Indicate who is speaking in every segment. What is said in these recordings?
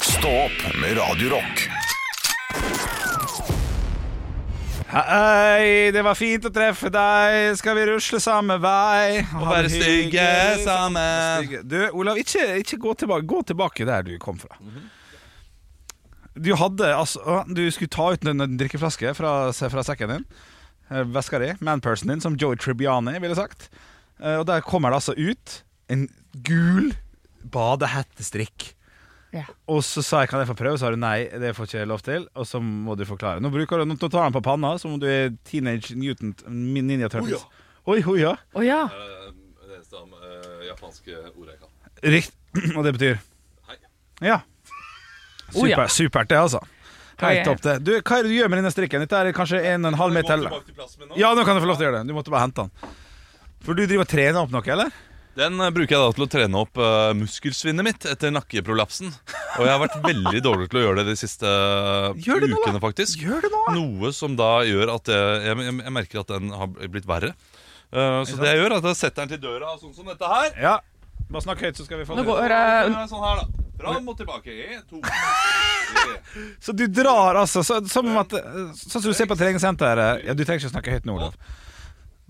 Speaker 1: Stå opp med Radio Rock.
Speaker 2: Hei, det var fint å treffe deg. Skal vi rusle samme vei?
Speaker 3: Og være stygge sammen.
Speaker 2: Du, Olav, ikke, ikke gå tilbake. Gå tilbake der du kom fra.
Speaker 3: Mhm.
Speaker 2: Du hadde altså Du skulle ta ut en en drikkeflaske fra, fra sekken din. eh, Veska di, manpersonen din, som Joey Tribbiani ville sagt. Eh, Og der kommer det altså ut en gul badehettestrikk.
Speaker 4: Ja.
Speaker 2: Og så sa jeg kan jeg få prøve, så sa du nei, det får ikke jeg lov til. Og så må du forklare. Nå, bruker du, nå tar han på panna som om du er teenage mutant Min- ninja turtles. Oi, hoia.
Speaker 4: Å ja.
Speaker 5: Det eneste am- eh, japanske ordet jeg kan.
Speaker 2: Rikt. Og det betyr
Speaker 5: Hei.
Speaker 2: Ja.
Speaker 4: Oh, ja.
Speaker 2: Super, supert, det, altså. Helt
Speaker 4: Oi.
Speaker 2: topp, det. Du, hva er det du gjør med denne strikken? Dette er kanskje en og en halv
Speaker 5: Gå
Speaker 2: meter
Speaker 5: tilbake til plassen min nå.
Speaker 2: Ja, nå kan du få lov til å gjøre det. Du måtte bare hente den. For du driver og trener opp noe, eller?
Speaker 3: Den eh, bruker jeg da til å trene opp eh, muskelsvinnet mitt etter nakkeprolapsen. Og jeg har vært veldig dårlig til å gjøre det de siste eh,
Speaker 2: Gjør det nå, da.
Speaker 3: ukene, faktisk.
Speaker 2: Gjør det nå!
Speaker 3: Noe som da gjør at jeg, jeg, jeg- jeg merker at den har blitt verre. Eh, så det jeg gjør, er at jeg setter den til døra, sånn som dette her.
Speaker 2: Ja. Bare snakk høyt, så skal vi få
Speaker 4: Nå
Speaker 2: det.
Speaker 4: går
Speaker 3: Den
Speaker 4: jeg
Speaker 3: er Sånn her, da. Fram og tilbake. En, to, tre.
Speaker 2: Så du drar altså så, Som om at Sånn som du ser på treningssenteret Ja, du trenger ikke å snakke høyt nå, Olav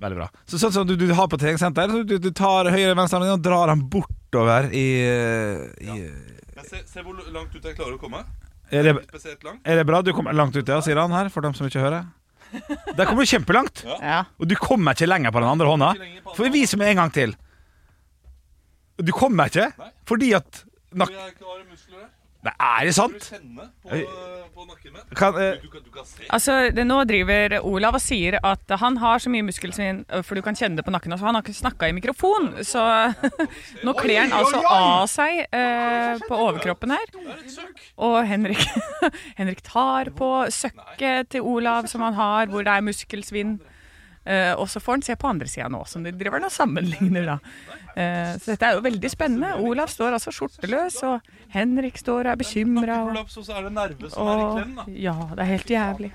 Speaker 2: Veldig bra Så sånn som du, du har på treningssenteret så du, du tar høyre venstre hånd Og drar den bortover i, i
Speaker 3: Jeg ser, ser hvor langt ut jeg klarer å komme.
Speaker 2: er, det,
Speaker 3: Spesielt langt.
Speaker 2: er det bra? Du kommer langt ut, ja, sier han her For dem som ikke hører Der kommer du kjempelangt
Speaker 4: Ja.
Speaker 2: Og du kommer ikke lenger på den andre hånda
Speaker 3: Ikke lenger på andre
Speaker 2: For vis meg en gang til Du kommer ikke
Speaker 3: Nei.
Speaker 2: Fordi at nak
Speaker 3: Jeg klarer muskler der.
Speaker 2: Nei, er det
Speaker 3: Du
Speaker 2: sant?
Speaker 3: kjenner på,
Speaker 2: Oi.
Speaker 3: på nakken min.
Speaker 2: Kan, eh,
Speaker 3: Du, du, kan- du kan se.
Speaker 4: Altså, det, nå driver Olav og sier at han har så mye muskelsvinn, øh, for du kan kjenne det på nakken også. Han har ikke snakka i mikrofon, så nå kler han altså av seg øh, på overkroppen her. Og Henrik, Henrik tar på søkket til Olav som han har, hvor det er muskelsvinn. Eh, og så får han se på andre sida nå, som de driver og sammenligner, da. Eh, så dette er jo veldig spennende. Olav står altså skjorteløs, og Henrik står og er bekymra. Og,
Speaker 3: Prolaps, og så er det nerve som er i klem, da.
Speaker 4: og Ja, det er helt jævlig.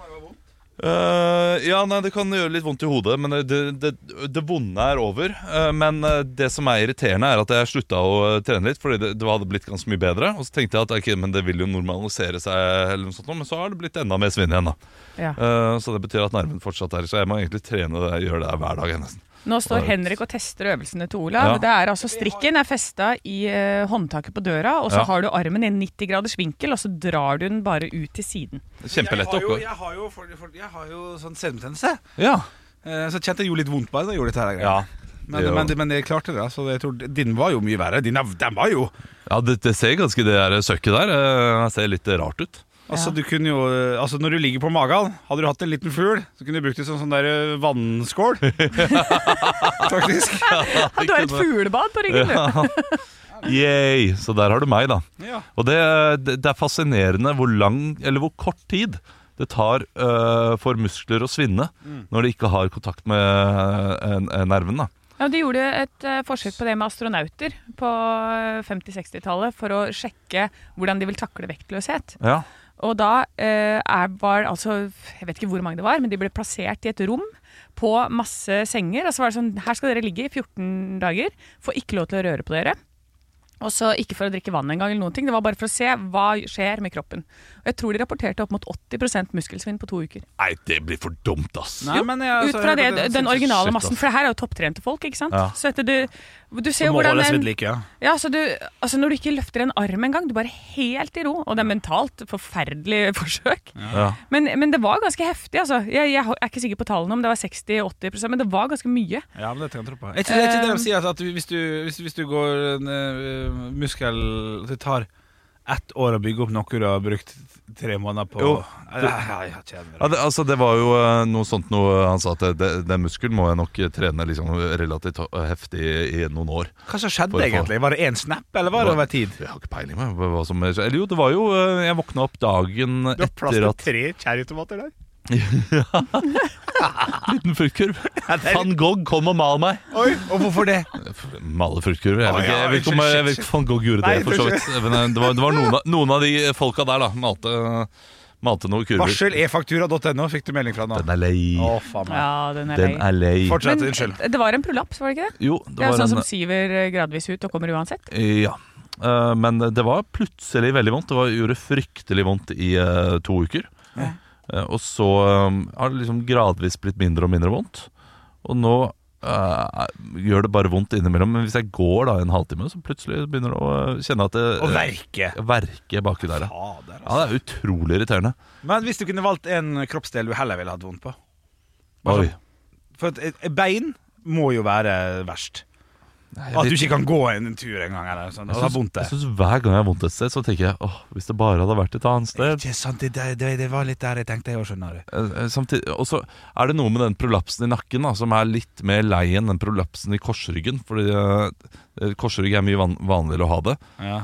Speaker 3: Eh, ja, nei, det kan gjøre litt vondt i hodet, men det, det, det vonde er over. Eh, men eh, det som er irriterende, er at jeg slutta å eh, trene litt, fordi det, det hadde blitt ganske mye bedre. Og så tenkte jeg at ok, men det vil jo normalisere seg, eller noe sånt, nå, men så har det blitt enda mer svinn igjen, da.
Speaker 4: Ja.
Speaker 3: Eh, så det betyr at nerven fortsatt er Så jeg må egentlig trene det, gjøre det her hver dag, jeg, nesten.
Speaker 4: Nå står Henrik og tester øvelsene til Olav.
Speaker 3: Ja.
Speaker 4: Det er altså Strikken er festa i eh, håndtaket på døra, og så
Speaker 3: Ja.
Speaker 4: har du armen i en 90 graders vinkel, og så drar du den bare ut til siden.
Speaker 3: Kjempelett oppgave.
Speaker 2: Jeg har jo, sånn selvbetennelse
Speaker 3: Ja.
Speaker 2: Eh, Så kjente jeg jo litt vondt på det da jeg gjorde dette her greiene.
Speaker 3: Ja.
Speaker 2: men,
Speaker 3: det gjør
Speaker 2: men, men jeg klarte det, så jeg tror din var jo mye verre. Din, den var jo
Speaker 3: Ja, det, det ser ganske det der søkket der. eh, Det ser litt rart ut.
Speaker 2: Altså,
Speaker 4: Ja.
Speaker 2: du kunne jo Altså, når du ligger på magen, hadde du hatt en liten fugl, så kunne du brukt det som sånn der eh, vannskål. Faktisk.
Speaker 4: Du har et fuglebad på ryggen, du!
Speaker 3: Yay! Så der har du meg, da.
Speaker 2: Ja.
Speaker 3: Og det, det det er fascinerende hvor lang, eller hvor kort tid det tar eh, for muskler å svinne
Speaker 2: Mm.
Speaker 3: når de ikke har kontakt med eh, en- en nerven. da
Speaker 4: Ja, de gjorde et eh, forsøk på det med astronauter på eh, 50-60-tallet for å sjekke hvordan de vil takle vektløshet.
Speaker 3: Ja,
Speaker 4: Og da eh, er, var altså Jeg vet ikke hvor mange det var, men de ble plassert i et rom på masse senger. Og så var det sånn Her skal dere ligge i 14 dager. Får ikke lov til å røre på dere. Og så ikke for å drikke vann engang, eller noen ting. Det var bare for å se hva skjer med kroppen. Og jeg tror de rapporterte opp mot 80 muskelsvinn på to uker.
Speaker 3: Nei, det blir for dumt, ass!
Speaker 2: Nei, men jeg, altså,
Speaker 4: Ut fra det,
Speaker 2: jeg- jeg-
Speaker 4: den originale
Speaker 3: shit,
Speaker 4: massen.
Speaker 3: ass.
Speaker 4: For det her er jo topptrente folk, ikke sant.
Speaker 3: Ja.
Speaker 4: Så dette, du, du ser jo
Speaker 2: må
Speaker 4: hvordan
Speaker 2: holdes
Speaker 4: en-
Speaker 2: ved like, ja.
Speaker 4: ja, så du, altså Når du ikke løfter en arm engang, du bare helt i ro. Og det er mentalt forferdelig forsøk.
Speaker 3: Ja.
Speaker 4: Men, men det var ganske heftig. altså Jeg, jeg er ikke sikker på tallene om det var 60-80 men det var ganske mye.
Speaker 2: Ja, men det kan jeg tro på. Er ikke det, er ikke det de
Speaker 4: Eh,
Speaker 2: sier, at, at hvis, du, hvis, hvis du går en eh, muskel Det tar ett år å bygge opp noe du har brukt tre måneder på
Speaker 3: Jo,
Speaker 2: Nei, jeg, jeg kjenner
Speaker 3: Ja, det, altså, det var jo eh, noe sånt noe han sa at det- det- den muskelen må jeg nok trene liksom, relativt heftig i noen år.
Speaker 2: Hva som
Speaker 3: For
Speaker 2: skjedde
Speaker 3: å få-
Speaker 2: egentlig? Var det én snap, eller var det over tid?
Speaker 3: Jeg har ikke peiling på hva som Eller jo, det var jo eh, Jeg våkna opp dagen
Speaker 2: Du har plass
Speaker 3: etter
Speaker 2: til
Speaker 3: at
Speaker 2: tre cherrytomater der.
Speaker 3: Liten fruktkurv. Van Gogh kom og mal meg.
Speaker 2: Oi, og hvorfor det?
Speaker 3: Male fruktkurver? Jeg
Speaker 2: Å,
Speaker 3: vet ikke
Speaker 2: ja,
Speaker 3: jeg vet ikke om jeg vet ikke om Van Gogh gjorde
Speaker 2: Nei,
Speaker 3: det, for så
Speaker 2: unnskyld.
Speaker 3: vidt. Men eh, det var, det var noen, av, noen av de folka der, da. Malte, malte noen kurver.
Speaker 2: Varsel efaktura.no fikk du melding fra nå.
Speaker 3: Den er lei.
Speaker 2: Å, faen meg.
Speaker 4: Ja, den er
Speaker 3: Den
Speaker 4: lei.
Speaker 3: er lei.
Speaker 2: Fortsett,
Speaker 4: Men
Speaker 2: unnskyld.
Speaker 4: det var en prolaps, var det ikke det?
Speaker 3: Jo, det
Speaker 4: Det er
Speaker 3: var
Speaker 4: sånn
Speaker 3: en eh,
Speaker 4: som siver gradvis ut og kommer uansett.
Speaker 3: Ja. Eh, Men det var plutselig veldig vondt. Det var, gjorde fryktelig vondt i eh, to uker. Eh, og så eh, har det liksom gradvis blitt mindre og mindre vondt. Og nå eh, gjør det bare vondt innimellom. Men hvis jeg går da en halvtime, så plutselig begynner det å eh, kjenne at det
Speaker 2: Å verke.
Speaker 3: verke baki der. Ja,
Speaker 2: Fader, altså.
Speaker 3: Ja, det er utrolig irriterende.
Speaker 2: Men hvis du kunne valgt en kroppsdel du heller ville hatt vondt på Bare
Speaker 3: Oi.
Speaker 2: sånn. For at et- et bein må jo være verst. At du ikke kan gå en tur engang. eller sånn, og
Speaker 3: Jeg
Speaker 2: ha
Speaker 3: syns,
Speaker 2: vondt
Speaker 3: jeg
Speaker 2: der.
Speaker 3: syns hver gang jeg har vondt et sted, så tenker jeg åh, hvis det bare hadde vært et annet sted.
Speaker 2: Ikke sant, det, det, det det var litt der jeg tenkte jeg òg, skjønner du.
Speaker 3: Eh, eh, Samtidig, og så er det noe med den prolapsen i nakken da, som er litt mer lei enn den prolapsen i korsryggen. Fordi eh, korsrygg er mye van vanligere å ha det
Speaker 2: Ja.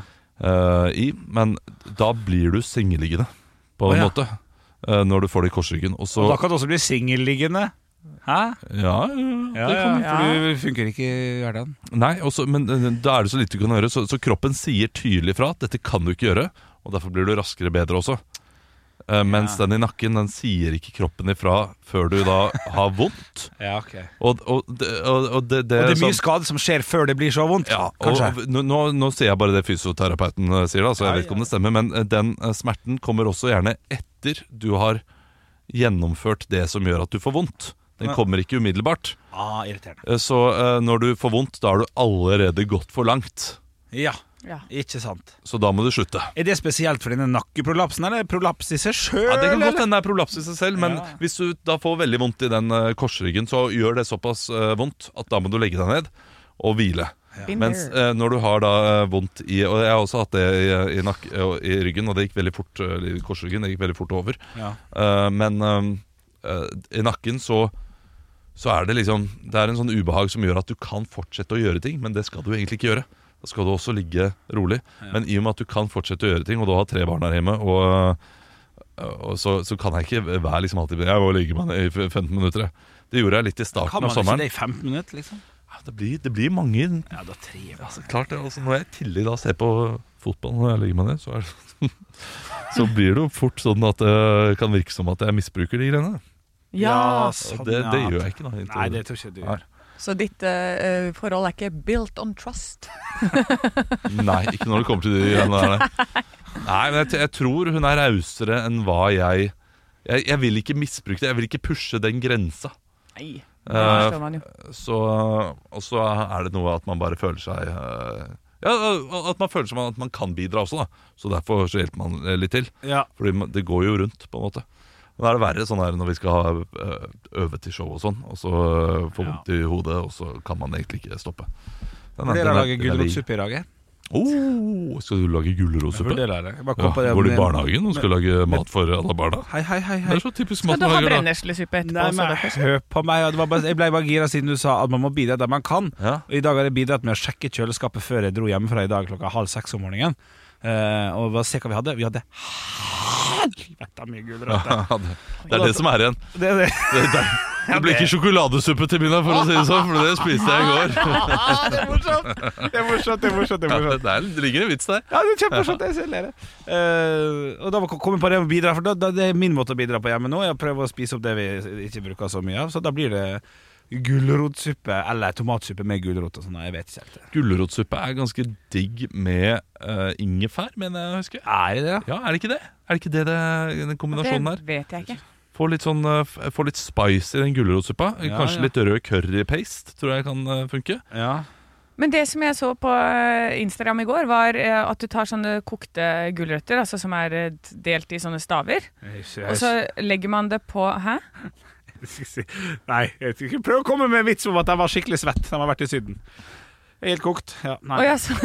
Speaker 3: eh, i, men da blir du sengeliggende på
Speaker 2: Å,
Speaker 3: en
Speaker 2: ja.
Speaker 3: måte. eh, når du får det i korsryggen. Og så
Speaker 2: Og da kan du også bli singelliggende. Hæ?
Speaker 3: Ja, ja.
Speaker 2: Ja, det kan,
Speaker 4: ja.
Speaker 2: For du funker ikke i hverdagen.
Speaker 3: Nei, og så- men eh, da er det så lite du kan gjøre. Så, så kroppen sier tydelig fra at dette kan du ikke gjøre, og derfor blir du raskere bedre også. Eh, mens den i nakken, den sier ikke kroppen ifra før du da har vondt.
Speaker 2: Ja, ok
Speaker 3: Og, og, det- og, og det, det,
Speaker 2: Og det er mye
Speaker 3: sånn-
Speaker 2: skade som skjer før det blir så vondt.
Speaker 3: Ja, og
Speaker 2: kanskje.
Speaker 3: og nå, nå, nå sier jeg bare det fysioterapeuten eh, sier, da, så jeg vet ikke om det stemmer. Men eh, den eh, smerten kommer også gjerne etter du har gjennomført det som gjør at du får vondt. Den
Speaker 2: Ja.
Speaker 3: kommer ikke umiddelbart.
Speaker 2: ah, irriterende.
Speaker 3: Eh, Så eh, når du får vondt, da har du allerede gått for langt.
Speaker 2: Ja,
Speaker 4: Ja.
Speaker 2: ikke sant.
Speaker 3: Så da må du slutte.
Speaker 2: Er det spesielt for denne nakkeprolapsen, eller er det prolaps i seg sjøl?
Speaker 3: Ja, det kan godt hende det er prolaps i seg selv, men
Speaker 2: Ja.
Speaker 3: hvis du da får veldig vondt i den eh, korsryggen, så gjør det såpass eh, vondt at da må du legge deg ned og hvile.
Speaker 4: Been
Speaker 3: Mens
Speaker 4: there.
Speaker 3: eh, når du har da eh, vondt i Og jeg har også hatt det i, i, nakk- eh, og i ryggen, og det gikk veldig fort eh, i korsryggen. Det gikk veldig fort over.
Speaker 2: Ja.
Speaker 3: Eh, men eh, eh, i nakken så så er det liksom Det er en sånn ubehag som gjør at du kan fortsette å gjøre ting, men det skal du egentlig ikke gjøre. Da skal du også ligge rolig. Men i og med at du kan fortsette å gjøre ting, og du har tre barn her hjemme, og, eh, og så, så kan jeg ikke være liksom alltid Jeg må ligge meg ned i 15 minutter. jeg. Det gjorde jeg litt i
Speaker 2: Kan
Speaker 3: starten
Speaker 2: man
Speaker 3: av
Speaker 2: ikke
Speaker 3: sommeren.
Speaker 2: det i 15 minutter, liksom?
Speaker 3: Ja, Det blir, det blir mange
Speaker 2: Ja, da trives jeg.
Speaker 3: Altså, klart det, altså, Når jeg i tillegg da ser på fotball når jeg legger meg ned, så, er det, så blir det jo fort sånn at det kan virke som at jeg misbruker de greiene.
Speaker 4: Ja,
Speaker 3: Og det, det gjør jeg ikke. da
Speaker 2: sånn, Nei, det tror jeg ikke du gjør.
Speaker 4: Så ditt eh, eh, forhold er ikke built on trust?
Speaker 3: Nei, ikke når det kommer til de greiene der. nei. Nei, men jeg, t- jeg tror hun er rausere enn hva jeg jeg, jeg vil ikke misbruke det, jeg vil ikke pushe den grensa.
Speaker 4: Nei. Det
Speaker 3: Eh,
Speaker 4: forstår man jo.
Speaker 3: Så, og så er det noe at man bare føler seg eh, Ja, at man føler seg at man kan bidra også, da. Så derfor så hjelper man eh, litt til.
Speaker 2: Ja.
Speaker 3: Fordi man- det går jo rundt, på en måte. Men da er det verre sånn her når vi skal ha, ø, øve til show og sånn, og så ø, får
Speaker 2: Ja.
Speaker 3: vondt i hodet, og så kan man egentlig ikke stoppe. Den er-
Speaker 2: Vurderer å
Speaker 3: den er-
Speaker 2: lage
Speaker 3: den er vid.
Speaker 2: gulrotsuppe i dag. eh? jeg.
Speaker 3: Oh, skal du lage
Speaker 2: Jeg
Speaker 3: gulrotsuppe?
Speaker 2: vurderer det. Jeg bare
Speaker 3: Ja,
Speaker 2: kom på det
Speaker 3: går du i
Speaker 2: med-
Speaker 3: barnehagen og skal lage mat for alle barna?
Speaker 2: Hei, hei, hei.
Speaker 3: Det
Speaker 2: hei.
Speaker 3: er så typisk
Speaker 4: Skal du ha
Speaker 3: matlager, da.
Speaker 4: brenneslesuppe etterpå?
Speaker 2: Nei,
Speaker 4: så
Speaker 2: men
Speaker 4: det er
Speaker 2: hør på meg. og Det var bare, jeg ble bare gira siden du sa at man må bidra der man kan.
Speaker 3: Ja.
Speaker 2: Og I dag har jeg bidratt med å sjekke kjøleskapet før jeg dro hjemmefra i dag klokka halv seks om morgenen. Eh, og bare se hva vi hadde. Vi hadde helvete mye gulrøtter.
Speaker 3: Ja, det, det er det som er igjen.
Speaker 2: Det er det.
Speaker 3: Det, det, det blir ikke sjokoladesuppe til middag, for å si det sånn, for det spiste jeg i går.
Speaker 2: Det er morsomt! Det er morsomt, det er morsomt. Det er
Speaker 3: Ja,
Speaker 2: morsomt.
Speaker 3: det, det er- det ligger en vits der.
Speaker 2: Ja, det er kjempemorsomt. Jeg ser dere. Eh, og da kom jeg på det å bidra, for da, da, det er min måte å bidra på hjemme nå. Jeg prøver å spise opp det vi ikke bruker så mye av, så da blir det gulrotsuppe eller tomatsuppe med gulrot og sånn. Jeg vet ikke helt. det.
Speaker 3: Gulrotsuppe er ganske digg med ø, ingefær, mener jeg å huske.
Speaker 2: Er det det? da?
Speaker 3: Ja, er det ikke det? Er det ikke det, det den kombinasjonen
Speaker 4: det
Speaker 3: her?
Speaker 4: vet jeg ikke.
Speaker 3: Få litt, sånn, eh, f- få litt spice i den gulrotsuppa.
Speaker 2: Ja, ja.
Speaker 3: Kanskje litt rød currypaste tror jeg kan eh, funke.
Speaker 2: Ja.
Speaker 4: Men det som jeg så på eh, Instagram i går, var eh, at du tar sånne kokte gulrøtter, altså som er eh, delt i sånne staver, og så legger man det på Hæ?
Speaker 2: Nei, jeg skal ikke prøve å komme med en vits om at jeg var skikkelig svett da jeg har vært i Syden. Helt kokt. Ja,
Speaker 4: Å,
Speaker 2: nei.
Speaker 4: ja, så,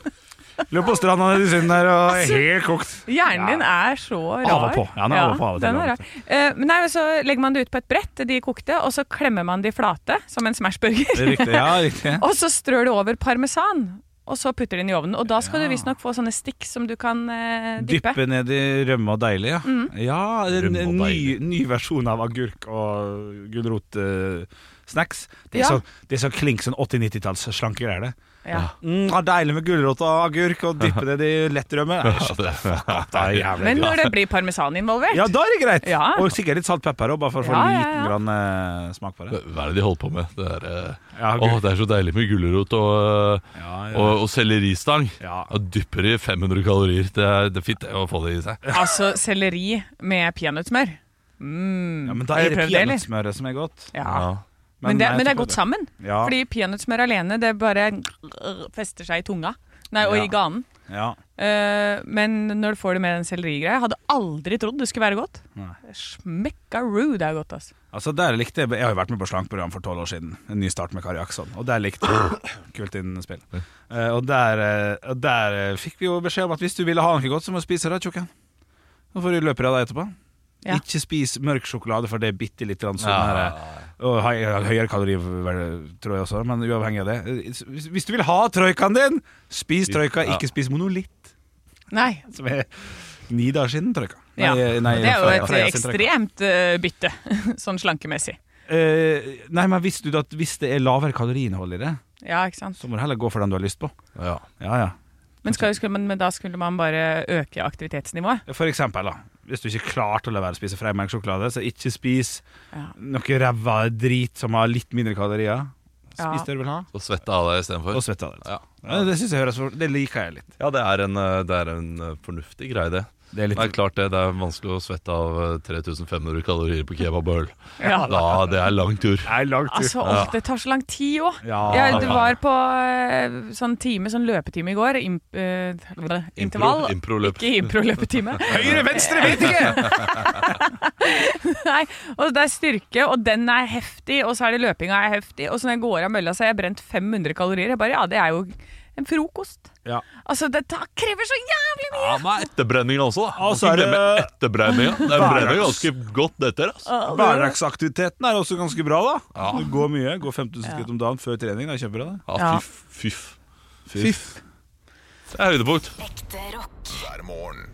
Speaker 2: Løp på stranda nede i Syden der og helt kokt.
Speaker 4: hjernen din er så Altså, rar.
Speaker 2: Av og på. Ja, den er av og på, av og til, av
Speaker 4: den
Speaker 2: og
Speaker 4: er rar. Eh, men nei, men så legger man det ut på et brett, de kokte, og så klemmer man de flate, som en Smashburger.
Speaker 2: Det er riktig. Ja, riktig.
Speaker 4: og så strør du over parmesan, og så putter du den i ovnen. Og da skal du visstnok få sånne stikk som du kan eh, dyppe.
Speaker 2: Dyppe ned i rømme og deilig, ja.
Speaker 4: Mm.
Speaker 2: Ja, en,
Speaker 3: Rømme og
Speaker 2: en ny, ny versjon av agurk og gulrotstaver. snacks. Det er,
Speaker 4: Ja.
Speaker 2: så, det er så klink sånn 80-90-talls slankegreier, det.
Speaker 4: Ja.
Speaker 2: Mm, ah, deilig med gulrot og agurk og dyppe det i lettrømme. Nei, shut the fuck up, det er jævlig
Speaker 4: Men
Speaker 2: bra.
Speaker 4: når det blir parmesan involvert
Speaker 2: Ja, da er det greit!
Speaker 4: Ja.
Speaker 2: Og sikkert litt salt pepper òg, bare for å få
Speaker 4: Ja, ja,
Speaker 2: liten
Speaker 4: ja.
Speaker 2: grann eh, smak på det.
Speaker 3: Hva er det de holder på med? Det er, eh,
Speaker 2: Ja,
Speaker 3: Åh,
Speaker 2: gul-
Speaker 3: det er så deilig med gulrot og, eh,
Speaker 2: Ja, ja.
Speaker 3: og, og selleristang.
Speaker 2: Ja.
Speaker 3: Og dypper i 500 kalorier. Det er, det er fint det, å få det i seg.
Speaker 4: Altså selleri med peanøttsmør. Mm.
Speaker 2: ja, men da
Speaker 4: Har
Speaker 2: er
Speaker 4: du
Speaker 2: det
Speaker 4: prøvd det, eller?
Speaker 2: peanøttsmøret som er godt.
Speaker 4: Ja.
Speaker 2: Men
Speaker 4: Men, det,
Speaker 2: jeg
Speaker 4: men det er
Speaker 2: tror
Speaker 4: godt
Speaker 2: det.
Speaker 4: sammen.
Speaker 2: Ja.
Speaker 4: Fordi peanøttsmør alene det bare fester seg i tunga. Nei, og
Speaker 2: Ja.
Speaker 4: i ganen.
Speaker 2: Ja.
Speaker 4: Eh, men når du får det med den sellerigreia Hadde aldri trodd det skulle være godt.
Speaker 2: Nei.
Speaker 4: Smekkaroo, det er godt, altså.
Speaker 2: Altså der likte Jeg jeg har jo vært med på slankprogram for tolv år siden. En ny start med Kari Akson. Og der likte jeg Kult innspill. Eh, og der, eh, og der eh, fikk vi jo beskjed om at hvis du ville ha noe godt, så må du spise det, tjukken. Så får du løpe av deg etterpå.
Speaker 4: Ja.
Speaker 2: Ikke spis mørk sjokolade, for det er bitte litt grann sånn her eh, Og høy- høyere kalori, vel, tror jeg også, men uavhengig av det. Eh, Hvis, hvis du vil ha troikaen din, spis troika,
Speaker 3: Ja.
Speaker 2: ikke spis monolitt,
Speaker 4: Nei.
Speaker 2: som er ni dager siden troika.
Speaker 4: Ja.
Speaker 2: nei,
Speaker 4: Det er jo
Speaker 2: Freia-
Speaker 4: et
Speaker 2: Freia sin troika.
Speaker 4: ekstremt eh, bytte, sånn slankemessig.
Speaker 2: Eh, nei, men hvis, du, da- hvis det er lavere kaloriinnhold i det,
Speaker 4: Ja, ikke sant?
Speaker 2: så må du heller gå for den du har lyst på. Ja, ja.
Speaker 4: Men, skal, skulle man, men da skulle man bare øke aktivitetsnivået?
Speaker 2: For eksempel, da. Hvis du ikke klarte å la være å spise freimelksjokolade, så ikke spis
Speaker 4: Ja.
Speaker 2: noe ræva drit som har litt mindre kalorier.
Speaker 4: Ja.
Speaker 2: Spis det du vil ha,
Speaker 3: Og svette av deg istedenfor.
Speaker 2: og svett av det.
Speaker 3: Ja.
Speaker 2: Ja, det synes jeg høres for- Det liker jeg litt.
Speaker 3: Ja, det er en, eh, det er en eh, fornuftig greie, det.
Speaker 2: Det er
Speaker 3: Det er
Speaker 2: litt
Speaker 3: klart det, det er vanskelig å svette av eh, 3500 kalorier på kebab og øl.
Speaker 4: Ja.
Speaker 3: Da, det er lang tur.
Speaker 2: Nei, langt ut.
Speaker 4: Altså, åh, det tar så lang tid òg.
Speaker 2: Ja.
Speaker 4: Jeg var på eh, sånn time, sånn løpetime i går. Imp, eh, intervall.
Speaker 3: Improløp.
Speaker 4: Ikke improløpetime.
Speaker 2: Høyre, venstre, vet ikke!
Speaker 4: Nei, og det er styrke, og den er heftig, og så er det løpinga er heftig. Og så når jeg går av mølla, så har jeg brent 500 kalorier. Jeg bare, ja, det er jo en frokost.
Speaker 2: Ja.
Speaker 4: Altså, det tar, krever så jævlig mye!
Speaker 3: Ja, men etterbrenninga også, da.
Speaker 2: Og så er
Speaker 3: Ikke glemme
Speaker 2: det-
Speaker 3: etterbrenninga. Den brenner jo ganske godt etter. Altså.
Speaker 2: Hverdagsaktiviteten er også ganske bra, da. Du går mye. Går 5000 skritt om dagen før trening. Det er kjempebra, det.
Speaker 3: Ja,
Speaker 4: Ja.
Speaker 3: fyff. Fyff. Det er høydepunkt.
Speaker 6: Ekte rock.
Speaker 1: hver morgen.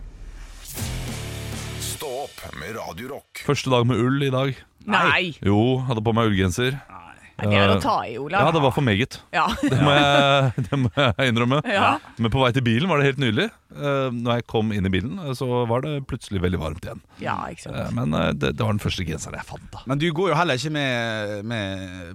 Speaker 1: Stå opp med Radio Rock.
Speaker 3: Første dag med ull i dag.
Speaker 4: Nei!
Speaker 3: Jo, hadde på meg ullgenser.
Speaker 4: Nei, Det er å ta i, Olav.
Speaker 3: Ja, det var for meget.
Speaker 4: Ja.
Speaker 3: Det må jeg, det må jeg innrømme.
Speaker 4: Ja.
Speaker 3: Men på vei til bilen var det helt nydelig. Eh, Når jeg kom inn i bilen, eh, så var det plutselig veldig varmt igjen.
Speaker 4: ja, ikke sant.
Speaker 3: Eh, Men eh, det, det var den første genseren jeg fant, da.
Speaker 7: Men du går jo heller ikke med, med,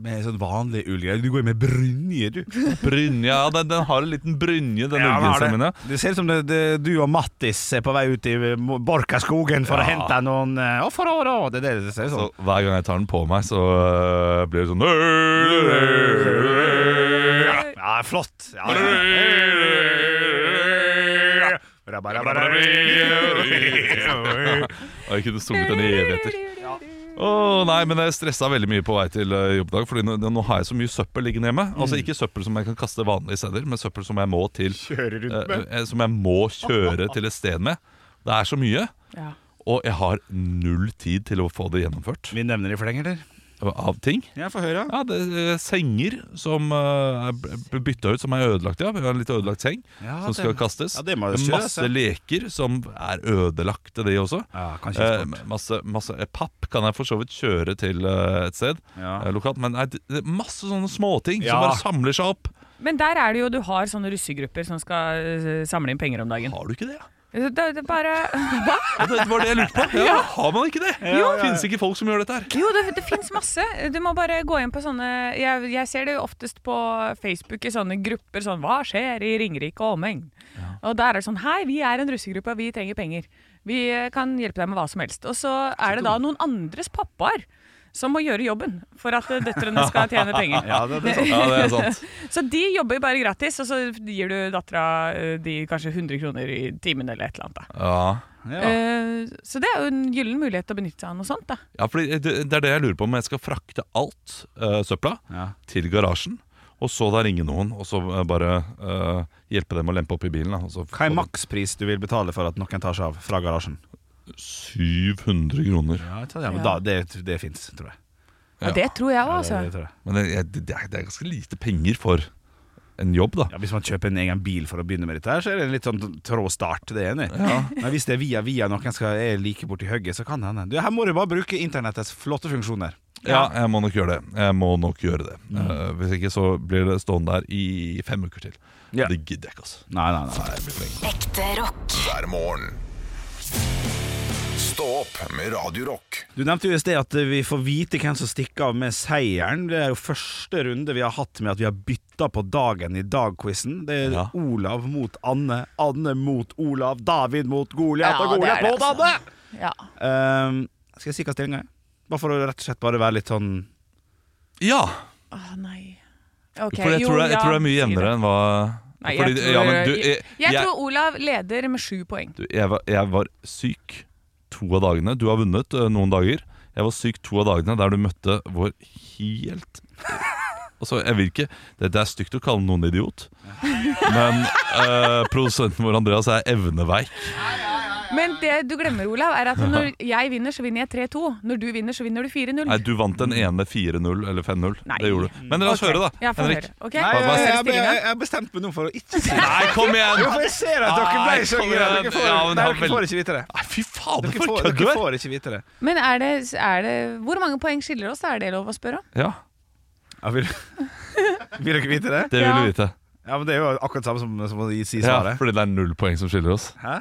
Speaker 7: med sånn vanlig ullgreier. Du går jo med brynje, du. Sånn
Speaker 3: Brynja, ja, den, den har en liten brynje,
Speaker 2: Ja,
Speaker 3: den
Speaker 2: den har
Speaker 3: ullgenseren min. ja.
Speaker 2: Det ser ut som det, det, du og Mattis er på vei ut i Borkaskogen for å
Speaker 3: Ja.
Speaker 2: hente noen eh, offer. og- og- Det er det det ser ut
Speaker 3: Så
Speaker 7: Altså-
Speaker 2: som.
Speaker 3: hver gang jeg tar den på meg, så øh, blir det sånn øh,
Speaker 2: Ja, flott. Ja, ja. Rabba, rabba, rabba.
Speaker 3: Og jeg kunne sunget den i evigheter. Åh, nei, men jeg stressa veldig mye på vei til øh, jobb i dag, Fordi nå, nå har jeg så mye søppel liggende hjemme. Altså Ikke søppel som jeg kan kaste vanlige steder, men søppel som jeg må til
Speaker 2: Mm. Kjører rundt med.
Speaker 3: øh, Som jeg må kjøre til et sted med. Det er så mye,
Speaker 4: Ja.
Speaker 3: og jeg har null tid til å få det gjennomført
Speaker 2: Vi nevner det i fleng, eller?
Speaker 3: av ting.
Speaker 2: Ja, få høre.
Speaker 3: Ja, det er senger som eh, er b- bytta ut, som er ødelagt. Ja. Vi har en litt ødelagt seng
Speaker 2: Ja,
Speaker 3: som
Speaker 2: det-
Speaker 3: skal kastes.
Speaker 2: ja, det må jo kjøres,
Speaker 3: masse
Speaker 2: ja.
Speaker 3: leker som er ødelagte, de også.
Speaker 2: Ja, kanskje
Speaker 3: Eh,
Speaker 2: ikke sport.
Speaker 3: masse, masse eh, papp kan jeg for så vidt kjøre til eh, et sted
Speaker 2: Ja.
Speaker 3: eh, lokalt. Men nei, det det er masse sånne småting som
Speaker 2: Ja.
Speaker 3: bare samler seg opp.
Speaker 4: Men der er det jo du har sånne russegrupper som skal eh, samle inn penger om dagen.
Speaker 3: Har du ikke det? ja?
Speaker 4: Det, det bare
Speaker 3: Ja, det var det jeg lurte på. Ja, har man ikke det? Jo. Fins ikke folk som gjør dette her?
Speaker 4: Jo, det, det fins masse. Du må bare gå inn på sånne jeg, jeg ser det jo oftest på Facebook i sånne grupper sånn Hva skjer i Ringerike og omegn? Og der er det sånn Hei, vi er en russegruppe, og vi trenger penger. Vi eh, kan hjelpe deg med hva som helst. Og så er det da noen andres pappaer som må gjøre jobben for at eh, døtrene skal tjene penger.
Speaker 2: Ja, det, det er sant.
Speaker 3: Ja, det er sant.
Speaker 4: Så de jobber bare gratis, og så gir du dattera eh, de kanskje 100 kroner i timen eller et eller annet. Da.
Speaker 3: Ja.
Speaker 2: Ja.
Speaker 4: Eh, så det er jo en gyllen mulighet til å benytte seg av noe sånt. da.
Speaker 3: Ja, fordi det, det er det jeg lurer på om jeg skal frakte alt eh, søpla
Speaker 2: Ja.
Speaker 3: til garasjen. Og så da ringe noen, og så eh, bare eh, hjelpe dem å lempe opp i bilen. Da, og så
Speaker 2: Hva er makspris du vil betale for at noen tar seg av fra garasjen?
Speaker 3: 700 kroner.
Speaker 2: Ja, jeg tror det, men da, det, det fins, tror jeg.
Speaker 4: Og det tror jeg òg, altså.
Speaker 2: Det tror jeg.
Speaker 3: Men det, jeg- det, er- det er ganske lite penger for en jobb, da.
Speaker 2: Ja, Hvis man kjøper en egen bil for å begynne med dette, her, så er det en litt sånn trå start. Det er jeg enig. i. Men hvis det er via via noen skal er like borti hugget, så kan det hende. Du, Her må du bare bruke internettets flotte funksjoner.
Speaker 3: Ja, jeg må nok gjøre det. Jeg må nok gjøre det Eh, Hvis ikke så blir det stående der i fem uker til.
Speaker 2: Ja.
Speaker 3: Det gidder jeg ikke, altså.
Speaker 2: Nei, nei, nei.
Speaker 6: Ekte rock.
Speaker 1: hver morgen. Stå opp med Radio Rock.
Speaker 2: Du nevnte jo i sted at vi får vite hvem som stikker av med seieren. Det er jo første runde vi har hatt med at vi har bytta på dagen i dag-quizen. Det er
Speaker 3: Ja.
Speaker 2: Olav mot Anne, Anne mot Olav, David mot Goliat
Speaker 4: Ja,
Speaker 2: og
Speaker 4: det
Speaker 2: Goliat
Speaker 4: er det,
Speaker 2: mot
Speaker 4: altså.
Speaker 2: Anne!
Speaker 4: Ja.
Speaker 2: Ehm, skal jeg si hva stillinga er? Bare for å rett og slett bare være litt sånn
Speaker 3: Ja!
Speaker 4: Å, nei. Ok,
Speaker 3: for jeg
Speaker 4: jo,
Speaker 3: tror, det- jeg
Speaker 4: ja,
Speaker 3: tror det er mye
Speaker 4: si
Speaker 3: jevnere enn hva
Speaker 4: Nei,
Speaker 3: fordi-
Speaker 4: jeg, tror,
Speaker 3: ja, men du,
Speaker 4: jeg,
Speaker 3: jeg,
Speaker 4: jeg
Speaker 3: jeg-
Speaker 4: tror Olav leder med sju poeng.
Speaker 3: du, jeg, var, jeg var syk to av dagene. Du har vunnet eh, noen dager. Jeg var syk to av dagene der du møtte vår helt Altså, jeg vil ikke det, det er stygt å kalle noen idiot, men eh, produsenten vår Andreas er evneveik.
Speaker 4: Men det du glemmer, Olav, er at når jeg vinner, så vinner jeg 3-2. Når du vinner, så vinner du 4-0.
Speaker 3: Nei, du vant den ene 4-0 eller 5-0.
Speaker 4: Nei.
Speaker 3: Det gjorde du. Men la oss
Speaker 4: Ok.
Speaker 3: høre, da.
Speaker 4: Ja, få
Speaker 3: Henrik.
Speaker 4: høre. Ok,
Speaker 2: Nei, jeg,
Speaker 4: hva er
Speaker 2: jeg, jeg,
Speaker 4: stillingen?
Speaker 2: jeg bestemte meg nå for å ikke si det.
Speaker 3: Nei, kom igjen!
Speaker 2: Jo, for jeg ser at dere
Speaker 3: Nei,
Speaker 2: ble så
Speaker 3: kom
Speaker 2: gira.
Speaker 3: igjen.
Speaker 2: Dere får,
Speaker 3: Ja, men
Speaker 2: nei,
Speaker 3: han
Speaker 2: dere
Speaker 3: vel-
Speaker 2: får ikke vite det.
Speaker 3: Nei, fy faen,
Speaker 2: Dere
Speaker 3: for
Speaker 2: får,
Speaker 3: kødd du
Speaker 2: dere
Speaker 3: er!
Speaker 2: får ikke vite det.
Speaker 4: Men er det, er det Hvor mange poeng skiller oss? Er det lov å spørre om?
Speaker 3: Ja,
Speaker 2: Ja, vil, vil dere vite det?
Speaker 3: det vil
Speaker 4: Ja.
Speaker 3: du vite.
Speaker 2: Ja, men Det er jo akkurat samme som, som å si
Speaker 3: Ja,
Speaker 2: svaret.
Speaker 3: fordi det er null poeng som skiller oss.
Speaker 2: Hæ?